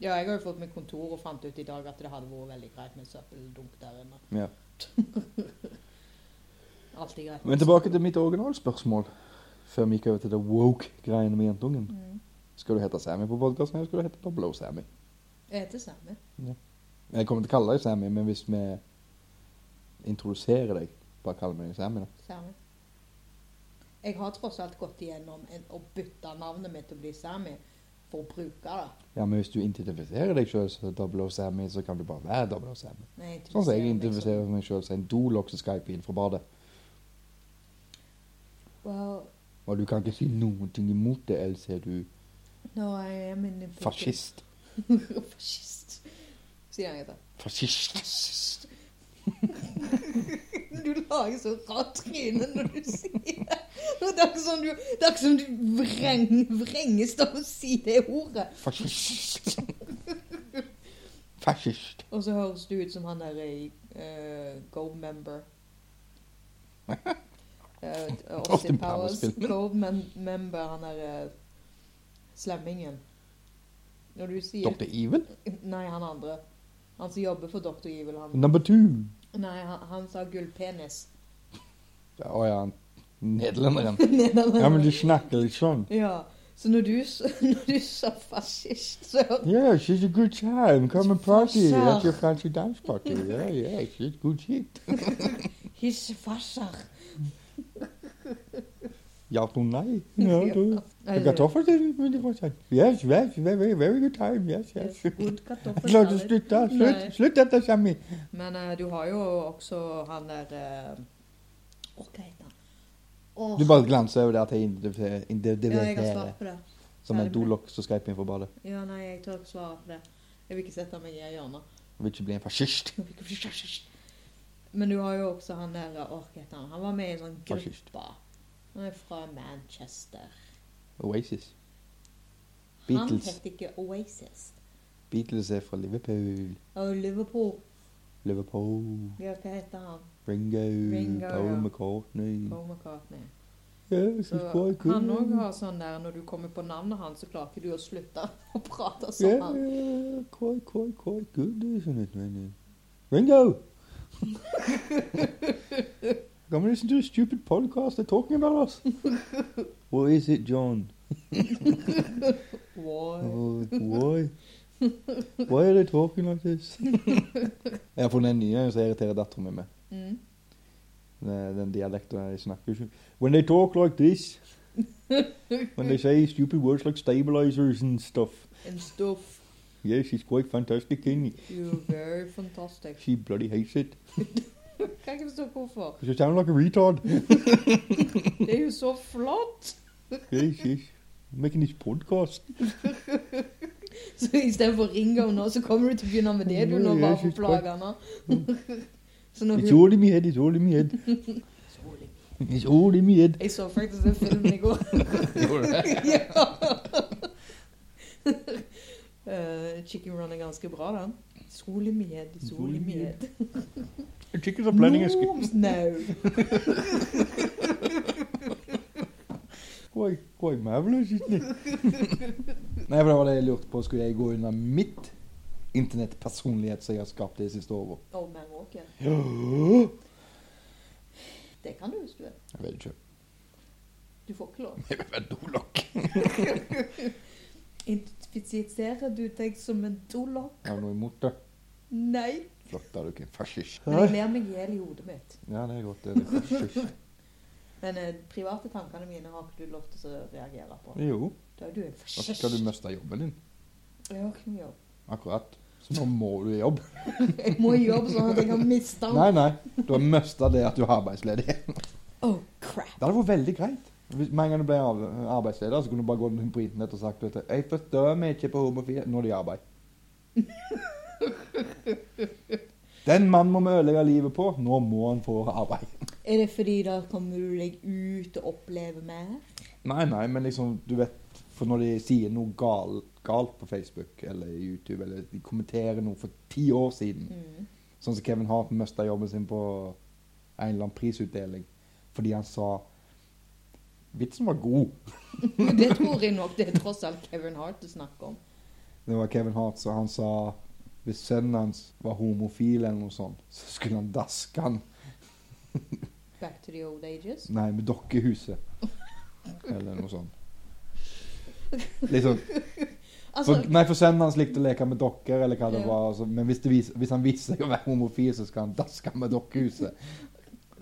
S1: Ja, jeg har jo fått meg kontor og fant ut i dag at det hadde vært veldig greit med søppeldunk der inne.
S2: Ja.
S1: Alltid greit.
S2: Men tilbake til mitt originalspørsmål. Før vi gikk over til det woke-greiene med jentungen.
S1: Mm.
S2: Skal du hete Sammy på podkasten, eller skal du hete Pablo Sammy?
S1: Jeg heter Sammy.
S2: Jeg kommer til å kalle deg Sammy, men hvis vi introduserer deg Bare kall meg Sammy, da.
S1: Sammy. Jeg har tross alt gått igjennom en, å bytte navnet mitt til å bli Sammy for å bruke det.
S2: Ja, men hvis du identifiserer deg sjøl som Double O Sammy, så kan du bare være Double O Sammy.
S1: Men jeg
S2: Sånn som jeg
S1: identifiserer meg
S2: identifiserer meg sjøl som en dolokk som skyper inn fra badet.
S1: som- Well,
S2: Og du kan ikke si noen ting imot det, ellers er du
S1: no, I am in the
S2: fascist.
S1: Fascist. Sier han etter.
S2: Fascist.
S1: Fascist. Du lager så rart tryne når du sier det. Det er ikke som du, det er ikke som du vreng, vrenges av å si det ordet.
S2: Fascist. Fascist.
S1: Og så høres du ut som han der i eh, Gold Member. Eh, Austin
S2: Austin
S1: Powers.
S2: Powers-filmen.
S1: Gold mem Member, han der eh, slemmingen. Når du sier
S2: Dr. Even?
S1: Nei, han andre. Han som jobber for Dr. Evil. Han.
S2: Number two.
S1: Nei, han, han sa gullpenis.
S2: Å ja, nederlenderen.
S1: Nederlender.
S2: Ja, men de snakker litt sånn.
S1: Ja, så når du, s- når du sa fascist, så hørte
S2: Yeah, she's a good time. Come and party
S1: Fasar.
S2: at your country dance party. Yeah, yeah, she's good shit.
S1: Hisse fasser.
S2: Ja, du nei. Ja, du.
S1: Nei,
S2: Kartoffelsalat vil jeg få si. Yes, yes, very, very good time. Yes,
S1: det er
S2: yes.
S1: god kartoffel,
S2: Slutt,
S1: Sally.
S2: slutt, da. slutt,
S1: Nei.
S2: slutt dette, Sammy.
S1: Men eh, du har jo også han der eh, Å, hva heter han? Åh,
S2: Du bare glanser over det at jeg individuerer
S1: Ja, jeg har
S2: individuerer
S1: svart på det.
S2: som en
S1: Ferdig med det.
S2: dolokk som skyper inn for badet.
S1: Ja, nei, jeg tør ikke svare på det. Jeg vil ikke sette meg i et hjørne.
S2: Vil ikke bli en fascist.
S1: Jeg vil ikke bli fascist. Men du har jo også han der eh, Åh, hva heter han? Han var med i en sånn
S2: Fascist.
S1: gruppe. Han er fra Manchester.
S2: Oasis.
S1: Han
S2: Beatles.
S1: heter ikke Oasis.
S2: Beatles er fra Liverpool.
S1: Og Liverpool.
S2: Liverpool.
S1: Ja, hva heter han?
S2: Ringo.
S1: Ringo,
S2: Paul
S1: ja.
S2: McCartney.
S1: Paul McCartney.
S2: Yes,
S1: Så
S2: it's quite good.
S1: han òg har sånn der Når du kommer på navnet hans, så klarer ikke du å slutte å prate som
S2: Yeah,
S1: han.
S2: yeah, quite, quite, quite good, isn't it, Ringo? Ringo! Come and listen to a stupid podcast they're talking about us. or is it John?
S1: Wow.
S2: Oh, why? Why are they talking like this? jeg har funnet en ny en som irriterer datteren min med.
S1: Mm.
S2: Den den dialekten der de snakker ikke. When they talk like this. When they say stupid words like stabilizers and stuff.
S1: And stuff.
S2: Yeah, she's quite fantastic, isn't she?
S1: You're very fantastic.
S2: She bloody hates it.
S1: Kan ikke forstå hvorfor.
S2: Because you sound like a retard.
S1: Det er jo så flott!
S2: Yes, yes. Making this podcast.
S1: Så istedenfor Ringo nå, så kommer du til å begynne med det du nå
S2: Ja,
S1: bare for å
S2: jeg synes
S1: plage han. Så når
S2: It's
S1: hun
S2: all in my head, it's all in my head. It's all in my head.
S1: Jeg så faktisk den filmen i går. ja. Eh, Chicken Run er ganske bra, den. Solimied, solimied.
S2: The chickens are planning a escape.
S1: Norms now.
S2: Quite, quite marvelous, isn't it? Nei, for det var det jeg lurte på. Skulle jeg gå under mitt internettpersonlighet som jeg har skapt det siste året?
S1: Oh, man walker.
S2: Jeg
S1: Det kan du hvis du vil.
S2: vet ikke.
S1: Du får ikke lov.
S2: Jeg vet dolokk.
S1: Identifiserer du deg som en dolokk?
S2: Har du noe imot det?
S1: Nei.
S2: Flott, da er du ikke en fascist.
S1: Men jeg ler meg i hjel i hodet mitt.
S2: Ja, det er godt. Det er litt fascist.
S1: Men eh, private tankene mine har ikke du lov til å reagere på.
S2: Jo.
S1: Da er du en
S2: Da skal du
S1: fascist.
S2: miste jobben din.
S1: Jeg har ikke noe jobb.
S2: Akkurat. Så nå må du i jobb.
S1: Jeg må i jobb sånn at jeg kan miste den.
S2: Nei, nei. Du har mista det at du er arbeidsledig.
S1: Oh, crap.
S2: Det hadde vært veldig greit. Hvis Med en gang du ble av- arbeidsleder, så kunne du bare gå inn på internett og sagt vet du, 'Jeg forstår meg ikke på homofile når de er i arbeid'. Den mannen må vi ødelegge livet på. Nå må han få arbeid.
S1: Er det fordi da kommer du deg ut og opplever mer?
S2: Nei, nei, men liksom, du vet For når de sier noe gal, galt på Facebook eller YouTube, eller de kommenterer noe for ti år siden.
S1: Mm.
S2: Sånn som Kevin Hart mista jobben sin på en eller annen prisutdeling fordi han sa Vitsen var god.
S1: Det tror jeg nok det er tross alt Kevin Hart du snakker om.
S2: Det var Kevin Hart, så han sa hvis sønnen hans var homofil eller noe sånt, så skulle han daske han.
S1: Back to the old ages.
S2: Nei, med dokkehuset. Eller noe sånt. Liksom,
S1: Altså,
S2: for, nei, for sønnen hans likte å leke med dokker, eller hva det
S1: Ja.
S2: var. Altså, men hvis, det vis, hvis han viser seg å være homofil, så skal han daske han med dokkehuset.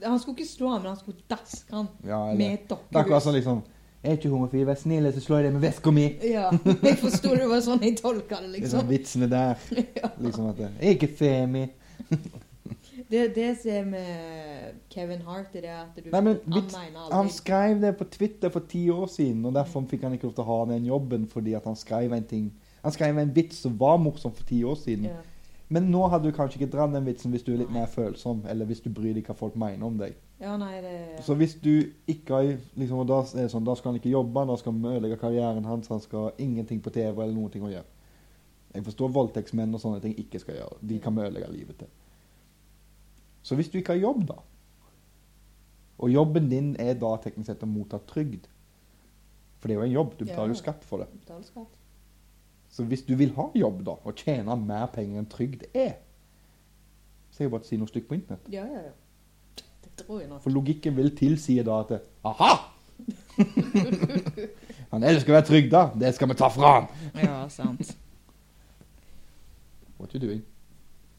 S1: han skulle ikke slå ham, men han skulle daske ham
S2: Ja,
S1: med
S2: eller,
S1: et
S2: det er
S1: dokkehus.
S2: akkurat sånn liksom Jeg er ikke homofil, vær snill, så slår jeg deg med veska mi.
S1: Ja, jeg forsto det var sånn jeg tolka det,
S2: Liksom
S1: liksom.
S2: vitsene der.
S1: Ja.
S2: Liksom at Jeg er ikke femi.
S1: Det, det som er med Kevin Hart, er det at du
S2: Nei, men
S1: Han
S2: vits-
S1: mener
S2: Han
S1: aldri
S2: skrev det på Twitter for ti år siden, og derfor fikk han ikke lov til å ha den jobben. fordi at Han skrev en ting Han skrev en vits som var morsom for ti år siden.
S1: ja.
S2: Men nå hadde du kanskje ikke dratt den vitsen hvis du er litt
S1: Nei.
S2: mer følsom, eller hvis du bryr deg hva folk mener om deg.
S1: ja, nei, det
S2: Så hvis du ikke har liksom, og da, er det sånn, da skal han ikke jobbe, da skal vi ødelegge karrieren hans, han skal ha ingenting på TV eller noen ting å gjøre. Jeg forstår voldtektsmenn og sånne ting ikke skal gjøre. De kan vi ødelegge livet til. Så hvis du ikke har jobb, da Og jobben din er da teknisk sett å motta trygd. For det er jo en jobb, du betaler jo
S1: Ja.
S2: skatt for det.
S1: Betaleskatt.
S2: Så hvis du vil ha jobb, da, og tjene mer penger enn trygd er, så er det bare å si noe stygt på internett.
S1: Ja, ja, ja. Det tror jeg nok.
S2: For logikken vil tilsi da at Aha! han elsker å være trygg, da. Det skal vi ta fra han.
S1: Ja, sant.
S2: What you doing?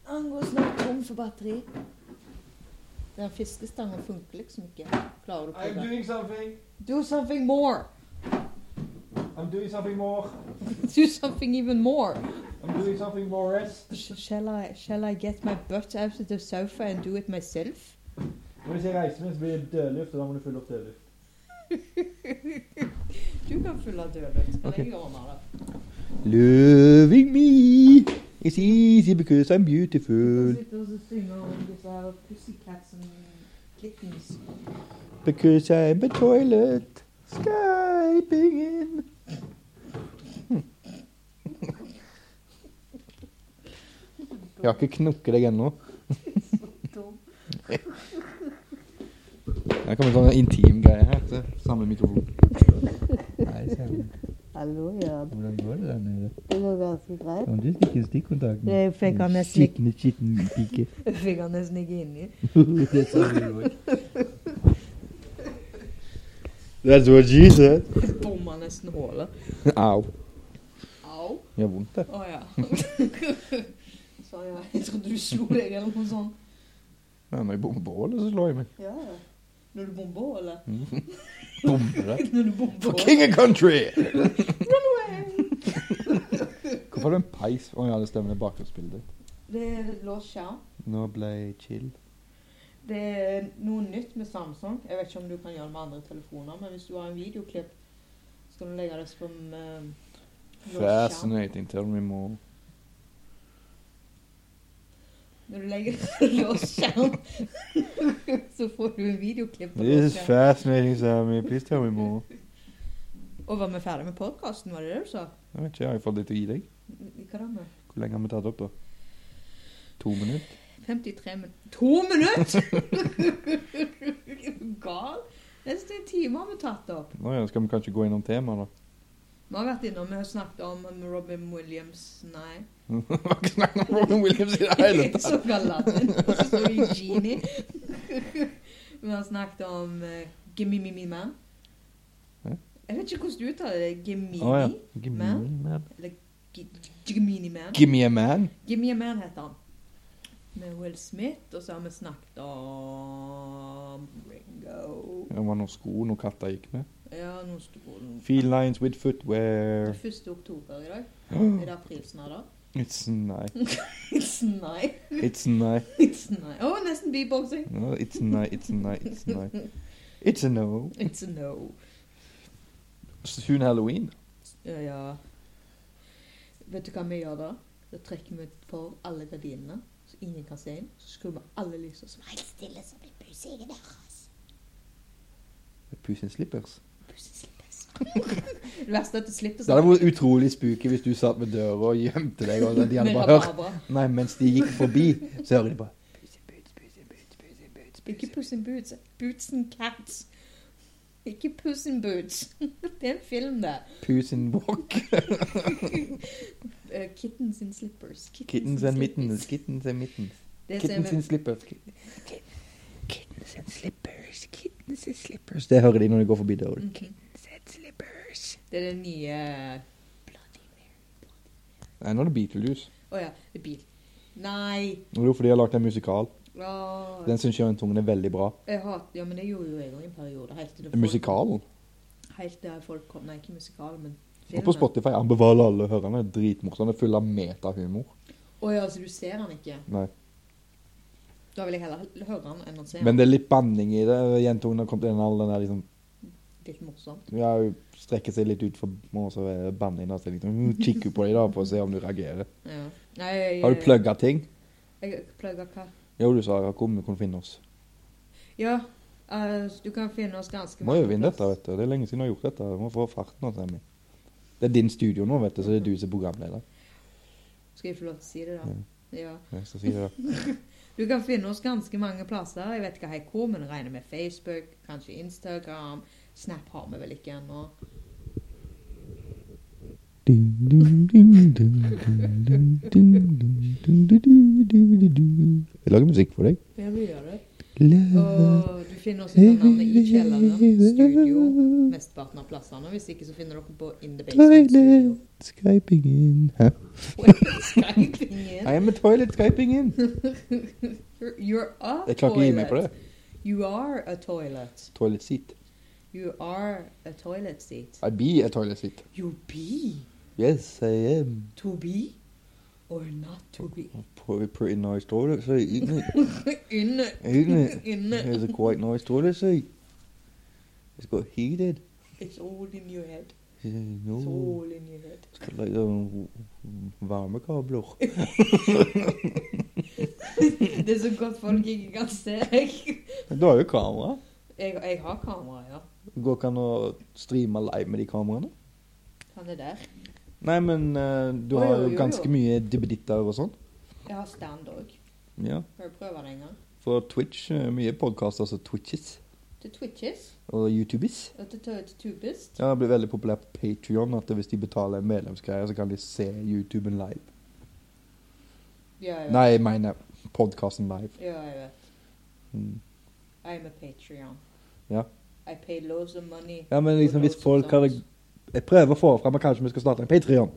S1: Han går snart tom for batteri. Den fiskestangen funker liksom ikke. Klarer du å prøve?
S2: something.
S1: Do something more!
S2: I'm doing something more.
S1: Do something even more!
S2: I'm doing something more else.
S1: Sh- Shall I, shall I get my butt out of the sofa and do it myself?
S2: Hvis jeg reiser meg, så blir det dødluft, og da må du fylle opp dødluft.
S1: Du kan fylle dødløft.
S2: Ok.
S1: Jeg ordner det.
S2: Loving me is easy because I'm beautiful.
S1: sitter og synger om disse her pussycats and kittens.
S2: Because I'm a toilet. Skyping in. Jeg har ikke knukket deg ennå. Det kommer en sånn intim greie her. Se, Samme mikrofon.
S3: Nei, Sam.
S1: Hallo, ja.
S3: Hvordan går det der nede?
S1: Det går ganske greit.
S3: Om du fikk en stikkontakt med
S1: Jeg fikk han
S3: den
S1: nesten ikke-
S3: skitne, skitne pike.
S1: Jeg fikk han nesten ikke inni.
S3: det sa du jo ikke.
S2: That's what she said.
S1: Bomma nesten hålet.
S2: Au.
S1: Au.
S2: Gjør vondt, det.
S1: Å ja. Sorry, jeg trodde du slo deg eller noe sånt.
S2: Ja, når jeg bommer på hullet, så slår jeg meg.
S1: Ja, ja. Når du bomber, eller?
S2: Bommer Mm. det.
S1: Når du bomber.
S2: King of country! Hvorfor har du en peis? Å ja, det stemmer. Det er bakgrunnsbildet.
S1: Det er låst skjerm.
S2: Nå ble jeg chill.
S1: Det er noe nytt med Samsung. Jeg vet ikke om du kan gjøre det med andre telefoner, men hvis du har en videoklipp, skal du legge det som eh, låst skjerm.
S2: Fascinating. Tell me more.
S1: Når du legger det som låst skjerm, så får du en videoklipp. på
S2: This
S1: låst
S2: is
S1: skjerm.
S2: fascinating, Sammy. Please tell me more.
S1: Og var vi ferdig med podkasten, var det det du sa?
S2: Jeg vet ikke, jeg har fått litt å gi deg.
S1: Hva da med?
S2: Hvor lenge har vi tatt opp, da? To minutter?
S1: 53 minutter To minutter?! er du gal? Nesten en time har vi tatt opp.
S2: Nå ja, skal vi kanskje gå innom temaet, da.
S1: Vi har vært innom, vi har snakket om um, Robin Williams Nei.
S2: Vi har ikke snakket om Robin Williams i det hele tatt.
S1: Så Aladdin, og så står det Genie. Vi har snakket om uh, Gemimimi Man.
S2: Hæ?
S1: Jeg vet ikke hvordan du uttaler det. Gemini?
S2: Å ja. Give me
S1: Man?
S2: a man.
S1: Gemini Man?
S2: Give me a man.
S1: Gimme a Man heter han. Med Will Smith, og så har vi snakket om Ringo
S2: Det var noen sko noen katter gikk med.
S1: Ja, nå sto den
S2: Feel lines with footwear.
S1: 1. oktober i dag. Er det april snart, da?
S2: It's night.
S1: It's nei.
S2: It's night.
S1: It's nei. Å, nesten beatboxing.
S2: No, it's night. It's night. It's night. It's a no.
S1: It's a no.
S2: Soon Halloween.
S1: Ja, ja. Vet du hva vi gjør da? Da trekker vi for alle gardinene, så ingen kan se inn. Så skrur vi alle lysene som helt stille, så blir pusingen deres.
S2: Puss in slippers.
S1: Pussen slippes. Det verste er at du slipper
S2: Det hadde vært utrolig spooky hvis du satt med døra og gjemte deg, og de hadde
S1: med
S2: bare hørt
S1: rabarbra.
S2: Nei, mens de gikk forbi, så hører de bare
S1: Ikke Puss in Boots. Boots and Cats. Ikke Puss in Boots. Det er en film, det.
S2: Pus in walk.
S1: Eh, Kittens in Slippers.
S2: Kittens
S1: in
S2: and mittens.
S1: slippers.
S2: Kittens and mittens.
S1: Det som er
S2: Kittens
S1: med-
S2: in slippers.
S3: Kittens and slippers, kittens and slippers,
S2: Det hører de når de går forbi døra.
S1: Mhm.
S3: kittens and slippers.
S1: Det er det nye Bloody Mary.
S2: Nei, nå er det Beetlejuice.
S1: Å ja, det er bil. Nei.
S2: Og Det er jo fordi de har lagd en musikal.
S1: Åh.
S2: Den syns Jørgen Tungen er veldig bra.
S1: Jeg hat, ja, men det gjorde jo jeg også i en periode. Helt til det folk-
S2: Musikalen?
S1: Helt til folk kom Nei, ikke musikal, men
S2: Og på Spotify anbefaler alle å høre den. Den er Dritmorsom. Den er full av metahumor.
S1: Å ja, så du ser han ikke?
S2: Nei.
S1: Da vil jeg heller høre han enn å se han.
S2: Men det er litt banning i det. Jentungen har kommet inn i all den der liksom
S1: Litt morsomt.
S2: Ja, hun strekker seg litt ut for og så er det banning. da, så Liksom, hun kikker på deg da for å se om du reagerer.
S1: Ja. Nei, jeg,
S2: Har du plugga ting?
S1: Jeg plugger hva?
S2: Jo, du sa Jakob, vi kunne finne oss.
S1: Ja, eh, du kan finne oss ganske
S2: Må øve inn
S1: plass.
S2: dette, vet du. Det er lenge siden jeg har gjort dette. Vi må få fart nå, Sammy. Det er din studio nå, vet du, så det er du som er programleder.
S1: Skal jeg få lov til å si det, da? Ja.
S2: Ja, så sier jeg det.
S1: Du kan finne oss ganske mange plasser. Jeg vet ikke helt hvor, men jeg regner med Facebook, kanskje Instagram. Snap har vi vel ikke ennå.
S2: Jeg lager musikk for deg.
S1: Ja, vi gjør det.
S2: La-
S1: Og du finner oss under navnet i kjelleren, studio, mesteparten av plassene. Hvis ikke, så finner dere på In the Basement Studio.
S2: Toilet skyping in. Hæ?
S1: Skyping in.
S2: I am a toilet skyping in.
S1: You're- You're a
S2: Jeg klarer ikke å gi meg på det.
S1: toilet. You are a toilet.
S2: Toilet seat.
S1: You are a toilet seat.
S2: I be a toilet seat.
S1: You be
S2: Yes, I am.
S1: to be or not to be.
S2: Probably pretty nice toilet seat, isn't it?
S1: Inne.
S2: Isn't it?
S1: Inne.
S2: It's a quite nice toilet seat. It's got heated.
S1: It's all in your head.
S2: Yeah,
S1: It's
S2: No.
S1: all in your head.
S2: It's got like um, varmekabler.
S1: Det er så godt folk ikke kan se. Jeg,
S2: Du har jo kamera.
S1: jeg, jeg har kamera, ja.
S2: Går ikke an å streame live med de kameraene?
S1: Han er der.
S2: Nei, men eh, du
S1: Å,
S2: har
S1: jo,
S2: jo
S1: jo,
S2: ganske
S1: jo.
S2: mye dibbeditter og sånn.
S1: Jeg har stand òg.
S2: Ja.
S1: Har du prøvd det en gang?
S2: For Twitch, eh, mye podkaster som Twitches
S1: Til Twitches
S2: og YouTubes.
S1: og til, til, til Tubist.
S2: Ja, det blir veldig populært på Patreon at hvis de betaler en medlemsgreie, så kan de se YouTuben live.
S1: Ja, jeg vet.
S2: Nei, jeg mener podkasten live.
S1: Ja, jeg vet.
S2: Mm.
S1: I'm a Patreon.
S2: Ja.
S1: I pay loads of money.
S2: Ja, men liksom hvis folk hadde Jeg prøver å få fram at kanskje vi skal starte en Patreon.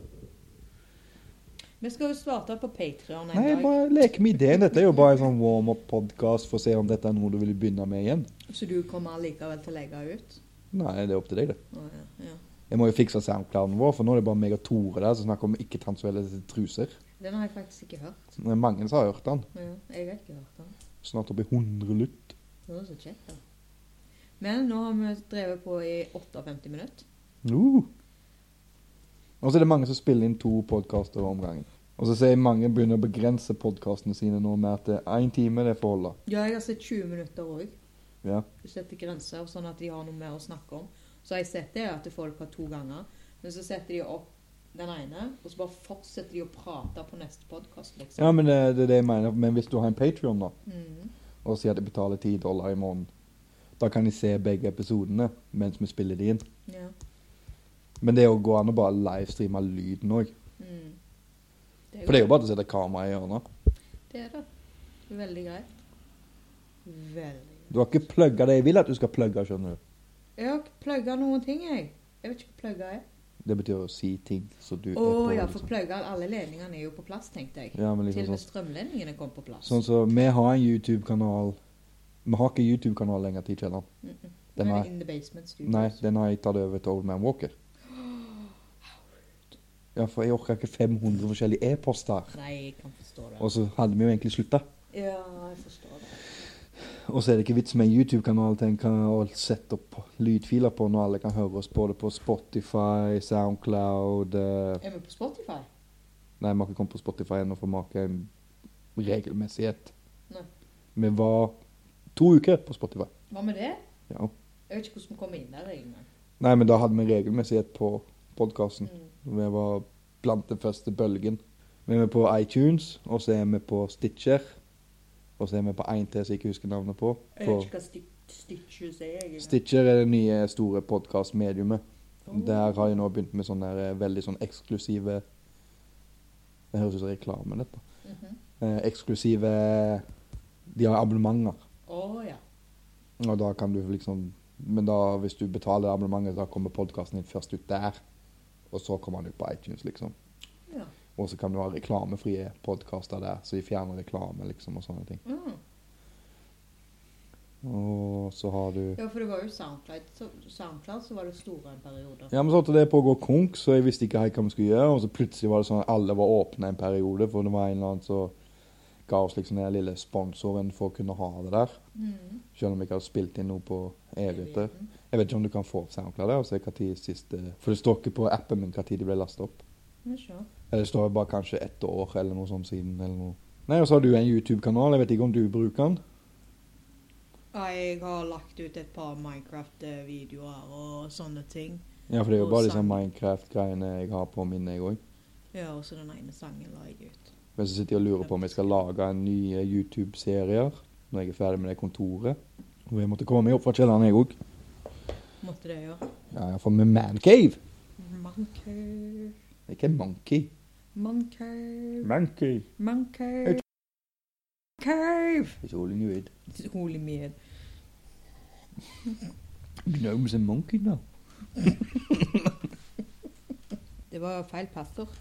S1: Vi skal jo starte på Patreon en
S2: Nei,
S1: dag.
S2: bare lek med ideen. Dette er jo bare en sånn warm-up-podkast for å se om dette er noe du vil begynne med igjen.
S1: Så du kommer allikevel til å legge ut?
S2: Nei, det er opp til deg, det.
S1: Å, ja, ja.
S2: Jeg må jo fikse soundclouden vår, for nå er det bare meg og Tore der som snakker om ikke-transuelle truser.
S1: Den har jeg faktisk ikke hørt.
S2: Men Mange som har hørt den.
S1: Ja, jeg har ikke hørt den.
S2: Snart oppi 100 lytt.
S1: Det var så kjekt, da. Men nå har vi drevet på i 58 minutter.
S2: Uh. Og så er det mange som spiller inn to podkaster om gangen. Og så ser jeg mange begynner å begrense podkastene sine nå med at det er én time det får holde.
S1: Ja, jeg har sett 20 minutter òg.
S2: Ja.
S1: Du setter grenser, sånn at de har noe mer å snakke om. Så har jeg sett det at folk har to ganger. Men så setter de opp den ene, og så bare fortsetter de å prate på neste podkast, liksom.
S2: ja, men det, det er det jeg mener. Men hvis du har en Patrion, da,
S1: Mhm.
S2: og sier at jeg betaler 10 dollar i måneden, da kan de se begge episodene mens vi spiller de inn.
S1: ja.
S2: Men det er jo går an å bare livestreame lyden òg.
S1: Mhm.
S2: For det er jo bare å sette kamera i hjørnet.
S1: Det er det. Veldig greit. Veldig greit.
S2: Du har ikke plugga det jeg vil at du skal plugge, skjønner du.
S1: Jeg har ikke plugga noen ting, jeg. Jeg vet ikke hva plugga er.
S2: Det betyr å si ting så du
S1: Å
S2: er på.
S1: ja, for
S2: liksom.
S1: plugga alle ledningene er jo på plass, tenkte jeg.
S2: ja, men
S1: Til og
S2: liksom
S1: med
S2: sånn,
S1: strømledningene kom på plass.
S2: sånn så, vi har en YouTube-kanal. Vi har ikke YouTube-kanal lenger, tid kjelleren.
S1: Mm -mm.
S2: Den
S1: Nå er
S2: har-
S1: det In the basement studios.
S2: Nei, den har jeg tatt over til Old Man Walker. Ja, for jeg orker ikke 500 forskjellige e-poster.
S1: Nei, jeg kan forstå det.
S2: Og så hadde vi jo egentlig slutta.
S1: Ja, jeg forstår det.
S2: Og så er det ikke vits med en YouTube-kanal til en kan sette opp lydfiler på når alle kan høre oss både på Spotify, Soundcloud eh,
S1: Er vi på Spotify?
S2: Nei, vi har ikke kommet på Spotify ennå, for vi har ikke en regelmessighet.
S1: Nei.
S2: Vi var to uker på Spotify.
S1: Hva med det?
S2: Ja.
S1: Jeg vet ikke hvordan vi kommer inn der engang.
S2: Nei, men da hadde vi regelmessighet på podkasten.
S1: Mm.
S2: Vi var blant den første bølgen. Vi er på iTunes, og så er vi på Stitcher. Og så er vi på en til som jeg ikke husker navnet på.
S1: Jeg
S2: på
S1: vet ikke hva sti- stitches er. jeg, egentlig.
S2: Stitcher er det nye store podkastmediumet.
S1: Åh.
S2: Der har jeg nå begynt med sånne der, eh, veldig sånn eksklusive Det høres ut som reklame, dette.
S1: Mhm.
S2: Eh, eksklusive De har abonnementer.
S1: Å, ja.
S2: Og da kan du liksom Men da, hvis du betaler abonnementet, da kommer podkasten din først ut der. Og så kommer den ut på iTunes, liksom.
S1: ja.
S2: Og så kan du ha reklamefrie podkaster der, så de fjerner reklame, liksom, og sånne ting.
S1: Mm.
S2: Og så har du
S1: Ja, for det var jo SoundCloud, så, SoundCloud så var det store en periode.
S2: Ja, men så holdt det på å gå konk, så jeg visste ikke helt hva vi skulle gjøre. Og så plutselig var det sånn at alle var åpne en periode, for det var en eller annen som ga oss liksom den lille sponsoren for å kunne ha det der.
S1: Mm.
S2: Selv om vi ikke hadde spilt inn noe på evigheter.
S1: Evigheten.
S2: Jeg vet ikke om du kan få opp SoundCloud der og se hva tid siste For det står ikke på appen min hva tid det ble lasta opp.
S1: Men så.
S2: Eller det står bare kanskje ett år eller noe sånt siden. eller noe. Nei, og så har du en YouTube-kanal. Jeg vet ikke om du bruker den.
S1: Jeg har lagt ut et par Minecraft-videoer og sånne ting.
S2: Ja, for det er jo
S1: Og
S2: bare disse
S1: sang.
S2: Minecraft-greiene jeg har på min, jeg òg.
S1: Ja, og så den ene sangen la jeg ut.
S2: Men så sitter jeg og lurer på om jeg skal lage en ny eh, YouTube-serier når jeg er ferdig med det kontoret. Og jeg måtte komme meg opp fra kjelleren, jeg òg.
S1: Måtte det gjøre.
S2: Ja, iallfall med Mancave.
S1: Monkey,
S2: Ikke Monkey.
S1: monkey,
S2: Monkey.
S1: monkey. Cave!
S2: It's all in your head.
S1: Holy mid.
S2: Gnomes and monkey now.
S1: Det var feil passord.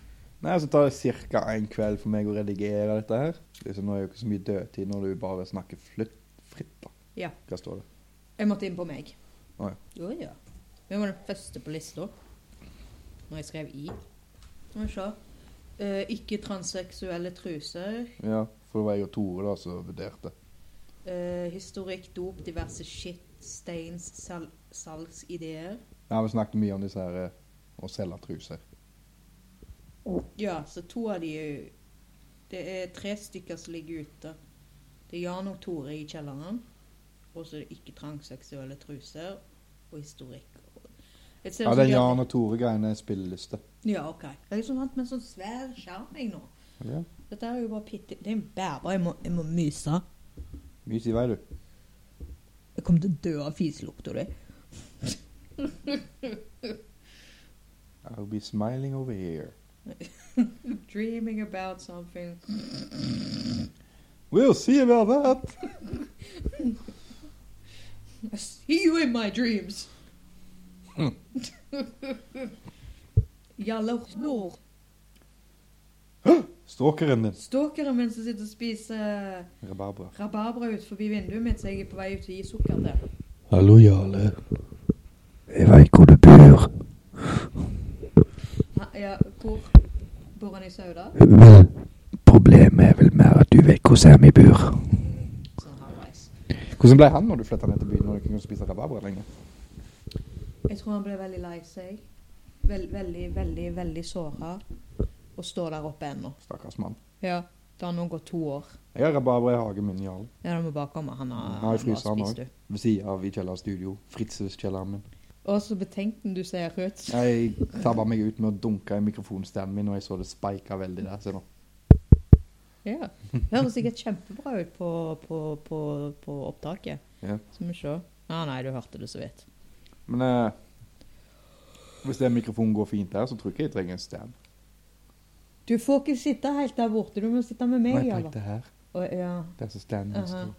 S2: Nei, så tar det ca. en kveld for meg å redigere dette her. Liksom, nå er det jo ikke så mye dødtid når du bare snakker flytt, fritt, da.
S1: Ja.
S2: Hva står det?
S1: Jeg måtte inn på meg.
S2: Å, ja.
S1: Å, ja. Hvem var den første på lista? Når jeg skrev i. Skal vi se. Eh, ikke transseksuelle truser.
S2: Ja, for det var jeg og Tore da som vurderte.
S1: Eh, historikk, dop, diverse shit. Steins sal salgsideer.
S2: Ja, vi snakket mye om disse her eh, å selge truser.
S1: Ja, så to av de er jo Det er tre stykker som ligger ute. Det er Jan og Tore i kjelleren. Og så er det ikke transseksuelle truser og historikk. Jeg ser
S2: Ja,
S1: ut som
S2: den
S1: de har-
S2: Jan og Tore-greiene er spilleliste.
S1: Ja, OK. Jeg er liksom vant med en sånn svær skjerm jeg nå.
S2: Ja.
S1: Dette er jo bare pitti... Det er en bæber. Jeg må, jeg må myse.
S2: Mye i vei, du.
S1: Jeg kommer til å dø av fiselukta di.
S2: I'll be smiling over here.
S1: Dreaming about something.
S2: We'll see about that.
S1: I see you in my dreams. Jalla snor.
S2: Stalkeren din.
S1: Stalkeren min som sitter og spiser
S2: Rabarbra.
S1: rabarbra ut forbi vinduet mitt, så jeg er på vei ut til å gi sukker til.
S3: Hallo, Jarle. Jeg veit hvor du bor.
S1: Ha- Ja, hvor bor han i Sauda?
S3: Vel, problemet er vel mer at du vet hvor Sam i bor.
S1: Sånn halvveis.
S2: Hvordan ble han når du flytta ned til byen når du ikke kunne spise rabarbra lenger?
S1: Jeg tror han ble veldig lei seg. Vel, veldig, veldig, veldig såra. Og står der oppe ennå.
S2: Stakkars mann.
S1: Ja. Det har nå gått to år.
S2: Jeg har rabarbra i hagen min, Jarl.
S1: Ja, det må bare komme. Han har,
S2: Han har i fryseren
S1: spist
S2: også.
S1: ut.
S2: Ved sida av i Kjellers studio. Fritzes kjelleren min.
S1: Og så betenkte du sier rødt.
S2: Jeg tabba meg ut med å dunke i mikrofonstanden min, og jeg så det spika veldig der. Se nå.
S1: Ja. Det høres sikkert kjempebra ut på, på, på, på opptaket.
S2: Ja.
S1: Skal vi se. Ah, nei, du hørte det så vidt.
S2: Men eh, hvis den mikrofonen går fint der, så tror jeg ikke jeg trenger en stand.
S1: Du får ikke sitte helt der borte. Du må sitte med
S2: Nei,
S1: meg.
S2: på
S1: eller?
S2: dette her.
S1: Å, ja.
S2: Det er altså så standen min
S1: Aha.
S2: står.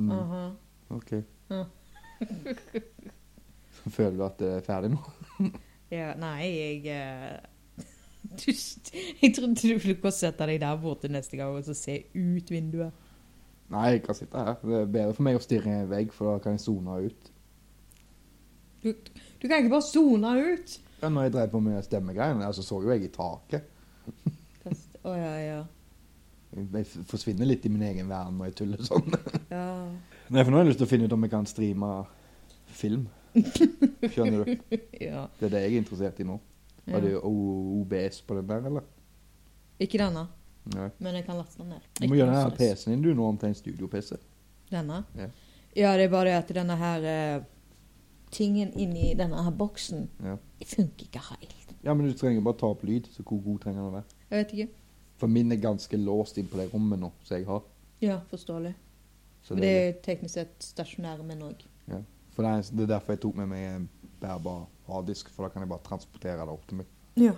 S2: Mm,
S1: Aha.
S2: OK.
S1: Ja.
S2: Føler du at det er ferdig nå?
S1: Ja, nei, jeg eh, du, Jeg trodde du ville gå og sette deg der borte neste gang og så se ut vinduet.
S2: Nei, jeg kan sitte her. Det er bedre for meg å stirre i en vegg, for da kan jeg sone ut.
S1: Du, du kan ikke bare sone ut!
S2: Ja, når jeg drev på med stemmegreiene, der, så så jo jeg i taket.
S1: Å ja, ja.
S2: Jeg f- forsvinner litt i min egen verden når jeg tuller sånn.
S1: ja.
S2: Nei, for nå har jeg lyst til å finne ut om jeg kan streame film. Skjønner du?
S1: ja.
S2: Det er det jeg er interessert i nå. Har du
S1: ja.
S2: O- OBS på den der, eller?
S1: Ikke denne,
S2: Nei.
S1: men jeg kan laste den ned.
S2: Du må
S1: Ikke
S2: gjøre den
S1: noe
S2: her
S1: stress.
S2: PC-en din du nå om til en studio-PC.
S1: Denne?
S2: Ja.
S1: Ja, det er bare det at denne her eh, tingen inni denne her boksen
S2: Ja.
S1: funker ikke helt.
S2: ja, men du trenger bare ta opp lyd, så hvor god trenger den å være?
S1: Jeg vet ikke.
S2: For min er ganske låst inn på det rommet nå, som jeg har.
S1: Ja, forståelig.
S2: Så
S1: Men det er teknisk sett stasjonære menn òg.
S2: For det er, det er derfor jeg tok med meg en bærbar harddisk, for da kan jeg bare transportere det opp til meg.
S1: Ja.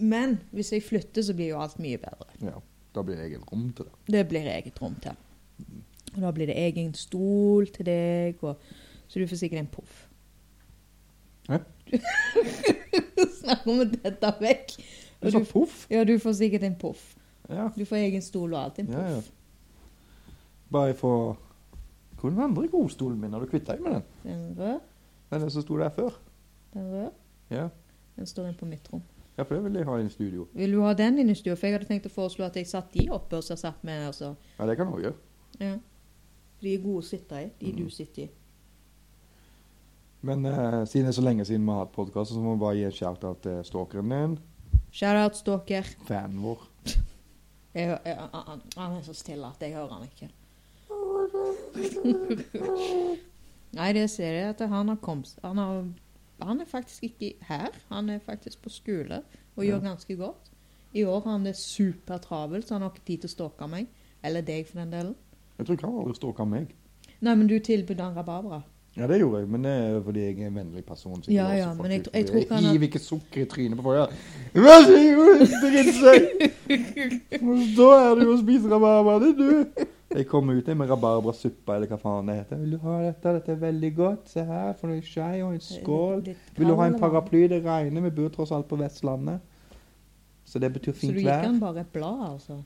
S1: Men hvis jeg flytter, så blir jo alt mye bedre.
S2: Ja, Da blir det eget rom til det.
S1: Det blir eget rom til. Og da blir det egen stol til deg, og så du får sikkert en poff.
S2: Hæ?
S1: Snakk om å dette vekk.
S2: Du
S1: Og
S2: sa
S1: du,
S2: poff.
S1: ja, du får sikkert en poff.
S2: Ja.
S1: Du får egen stol og alt. En
S2: Ja, ja.
S1: poff.
S2: Bare få Hvor er den andre godstolen min? Har du kvitta deg med den?
S1: Den rød,
S2: Det er den som sto der før.
S1: den rød.
S2: Ja.
S1: Den står inne på mitt rom.
S2: ja, for det vil jeg ha i en studio.
S1: Vil du ha den inn i stua? For jeg hadde tenkt å foreslå at jeg satt de oppe og så satt med altså.
S2: Ja, det kan du også gjøre.
S1: Ja. De er gode å sitte i, de du
S2: Mhm.
S1: sitter i.
S2: Men eh, siden det er så lenge siden vi har hatt podkast, så må vi bare gi en shout-out til stalkeren din.
S1: Shout-out, stalker.
S2: Fanen vår.
S1: Jeg, hø- jeg, han, han er så stille at jeg hører han ikke. Nei, det ser jeg at han har kommet han, har, han er faktisk ikke her. Han er faktisk på skole og gjør
S2: Ja.
S1: ganske godt. I år har han det supertravelt, så han har ikke tid til å stalke meg. Eller deg, for den delen.
S2: Jeg tror ikke han aldri stalka meg.
S1: Nei, men du tilbød han rabarbra.
S2: Ja, det gjorde jeg, men det er fordi jeg er en vennlig person. så
S1: Ja,
S2: låser
S1: ja,
S2: folk
S1: men jeg
S2: ut.
S1: tro- jeg tror ikke han har-
S2: hiver ikke sukker i trynet på folk. ja. Vær så god, dritt seg! Da er du og spiser rabarbra, det er du. Jeg kommer ut med rabarbrasuppa eller hva faen det heter. Vil du ha dette? Dette er veldig godt. Se her, får du en skei og en skål.
S1: Litt
S2: Vil du ha en
S1: kald,
S2: paraply? Det regner, vi bor tross alt på Vestlandet. Så det betyr
S1: Så
S2: fint
S1: du gikk
S2: vær.
S1: han bare et blad, altså?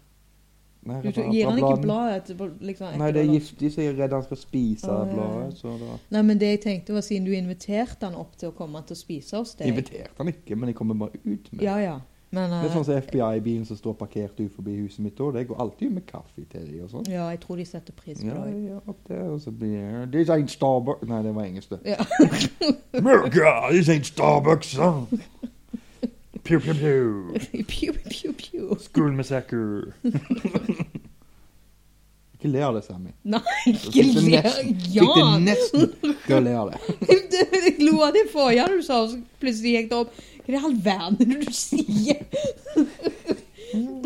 S2: Nei,
S1: Du du- gir han ikke
S2: rabarbrabladen-
S1: blad etterpå? Liksom, etter
S2: Nei, det
S1: å
S2: er
S1: ha-
S2: giftig, så jeg er redd han skal spise
S1: Å, ja.
S2: det bladet. Så da
S1: Nei, men det jeg tenkte var siden du inviterte han opp til å komme til å spise hos deg.
S2: inviterte han ikke, men jeg kommer bare ut med det.
S1: Ja, ja. Men
S2: Det er sånn
S1: eh,
S2: som FBI-bilen som står parkert ut forbi huset mitt òg. Det går alltid med kaffe til de og sånn.
S1: ja, jeg tror de setter pris på
S2: Ja,
S1: det.
S2: ja, opp der, og så blir det This ain't Starbucks Nei, det var engelsk, det.
S1: Ja.
S2: America, this ain't Starbucks, son! Pew, pew, pew.
S1: Pew, pew, pew.
S2: School massacre. Ikke le av det, Sammy.
S1: Ikke
S2: Fikk det
S1: le
S2: nesten-
S1: Ja!
S2: Fikk det nesten til å le av det.
S1: Jeg lo av det forrige du sa, og så plutselig gikk det opp. Hva i all verden er det du sier?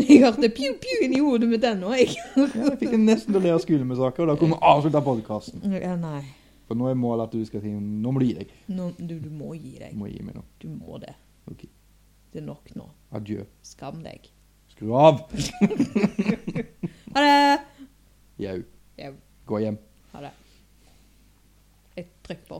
S1: Jeg hørte pew, pew inni hodet mitt ennå, jeg.
S2: Ja, jeg fikk det nesten til å le av skolemassaker, og da kommer vi avslutte podkasten.
S1: Ja, nei.
S2: For nå er målet at du skal si Nå må du gi deg.
S1: Nå, du, du må gi
S2: Du
S1: deg.
S2: må gi meg nå.
S1: Du må det.
S2: Ok.
S1: Det er nok nå.
S2: Adjø.
S1: Skam deg.
S2: Skru av!
S1: Ha det!
S2: Jau.
S1: Jau.
S2: Gå hjem.
S1: Ha det. Jeg trykker på opptak.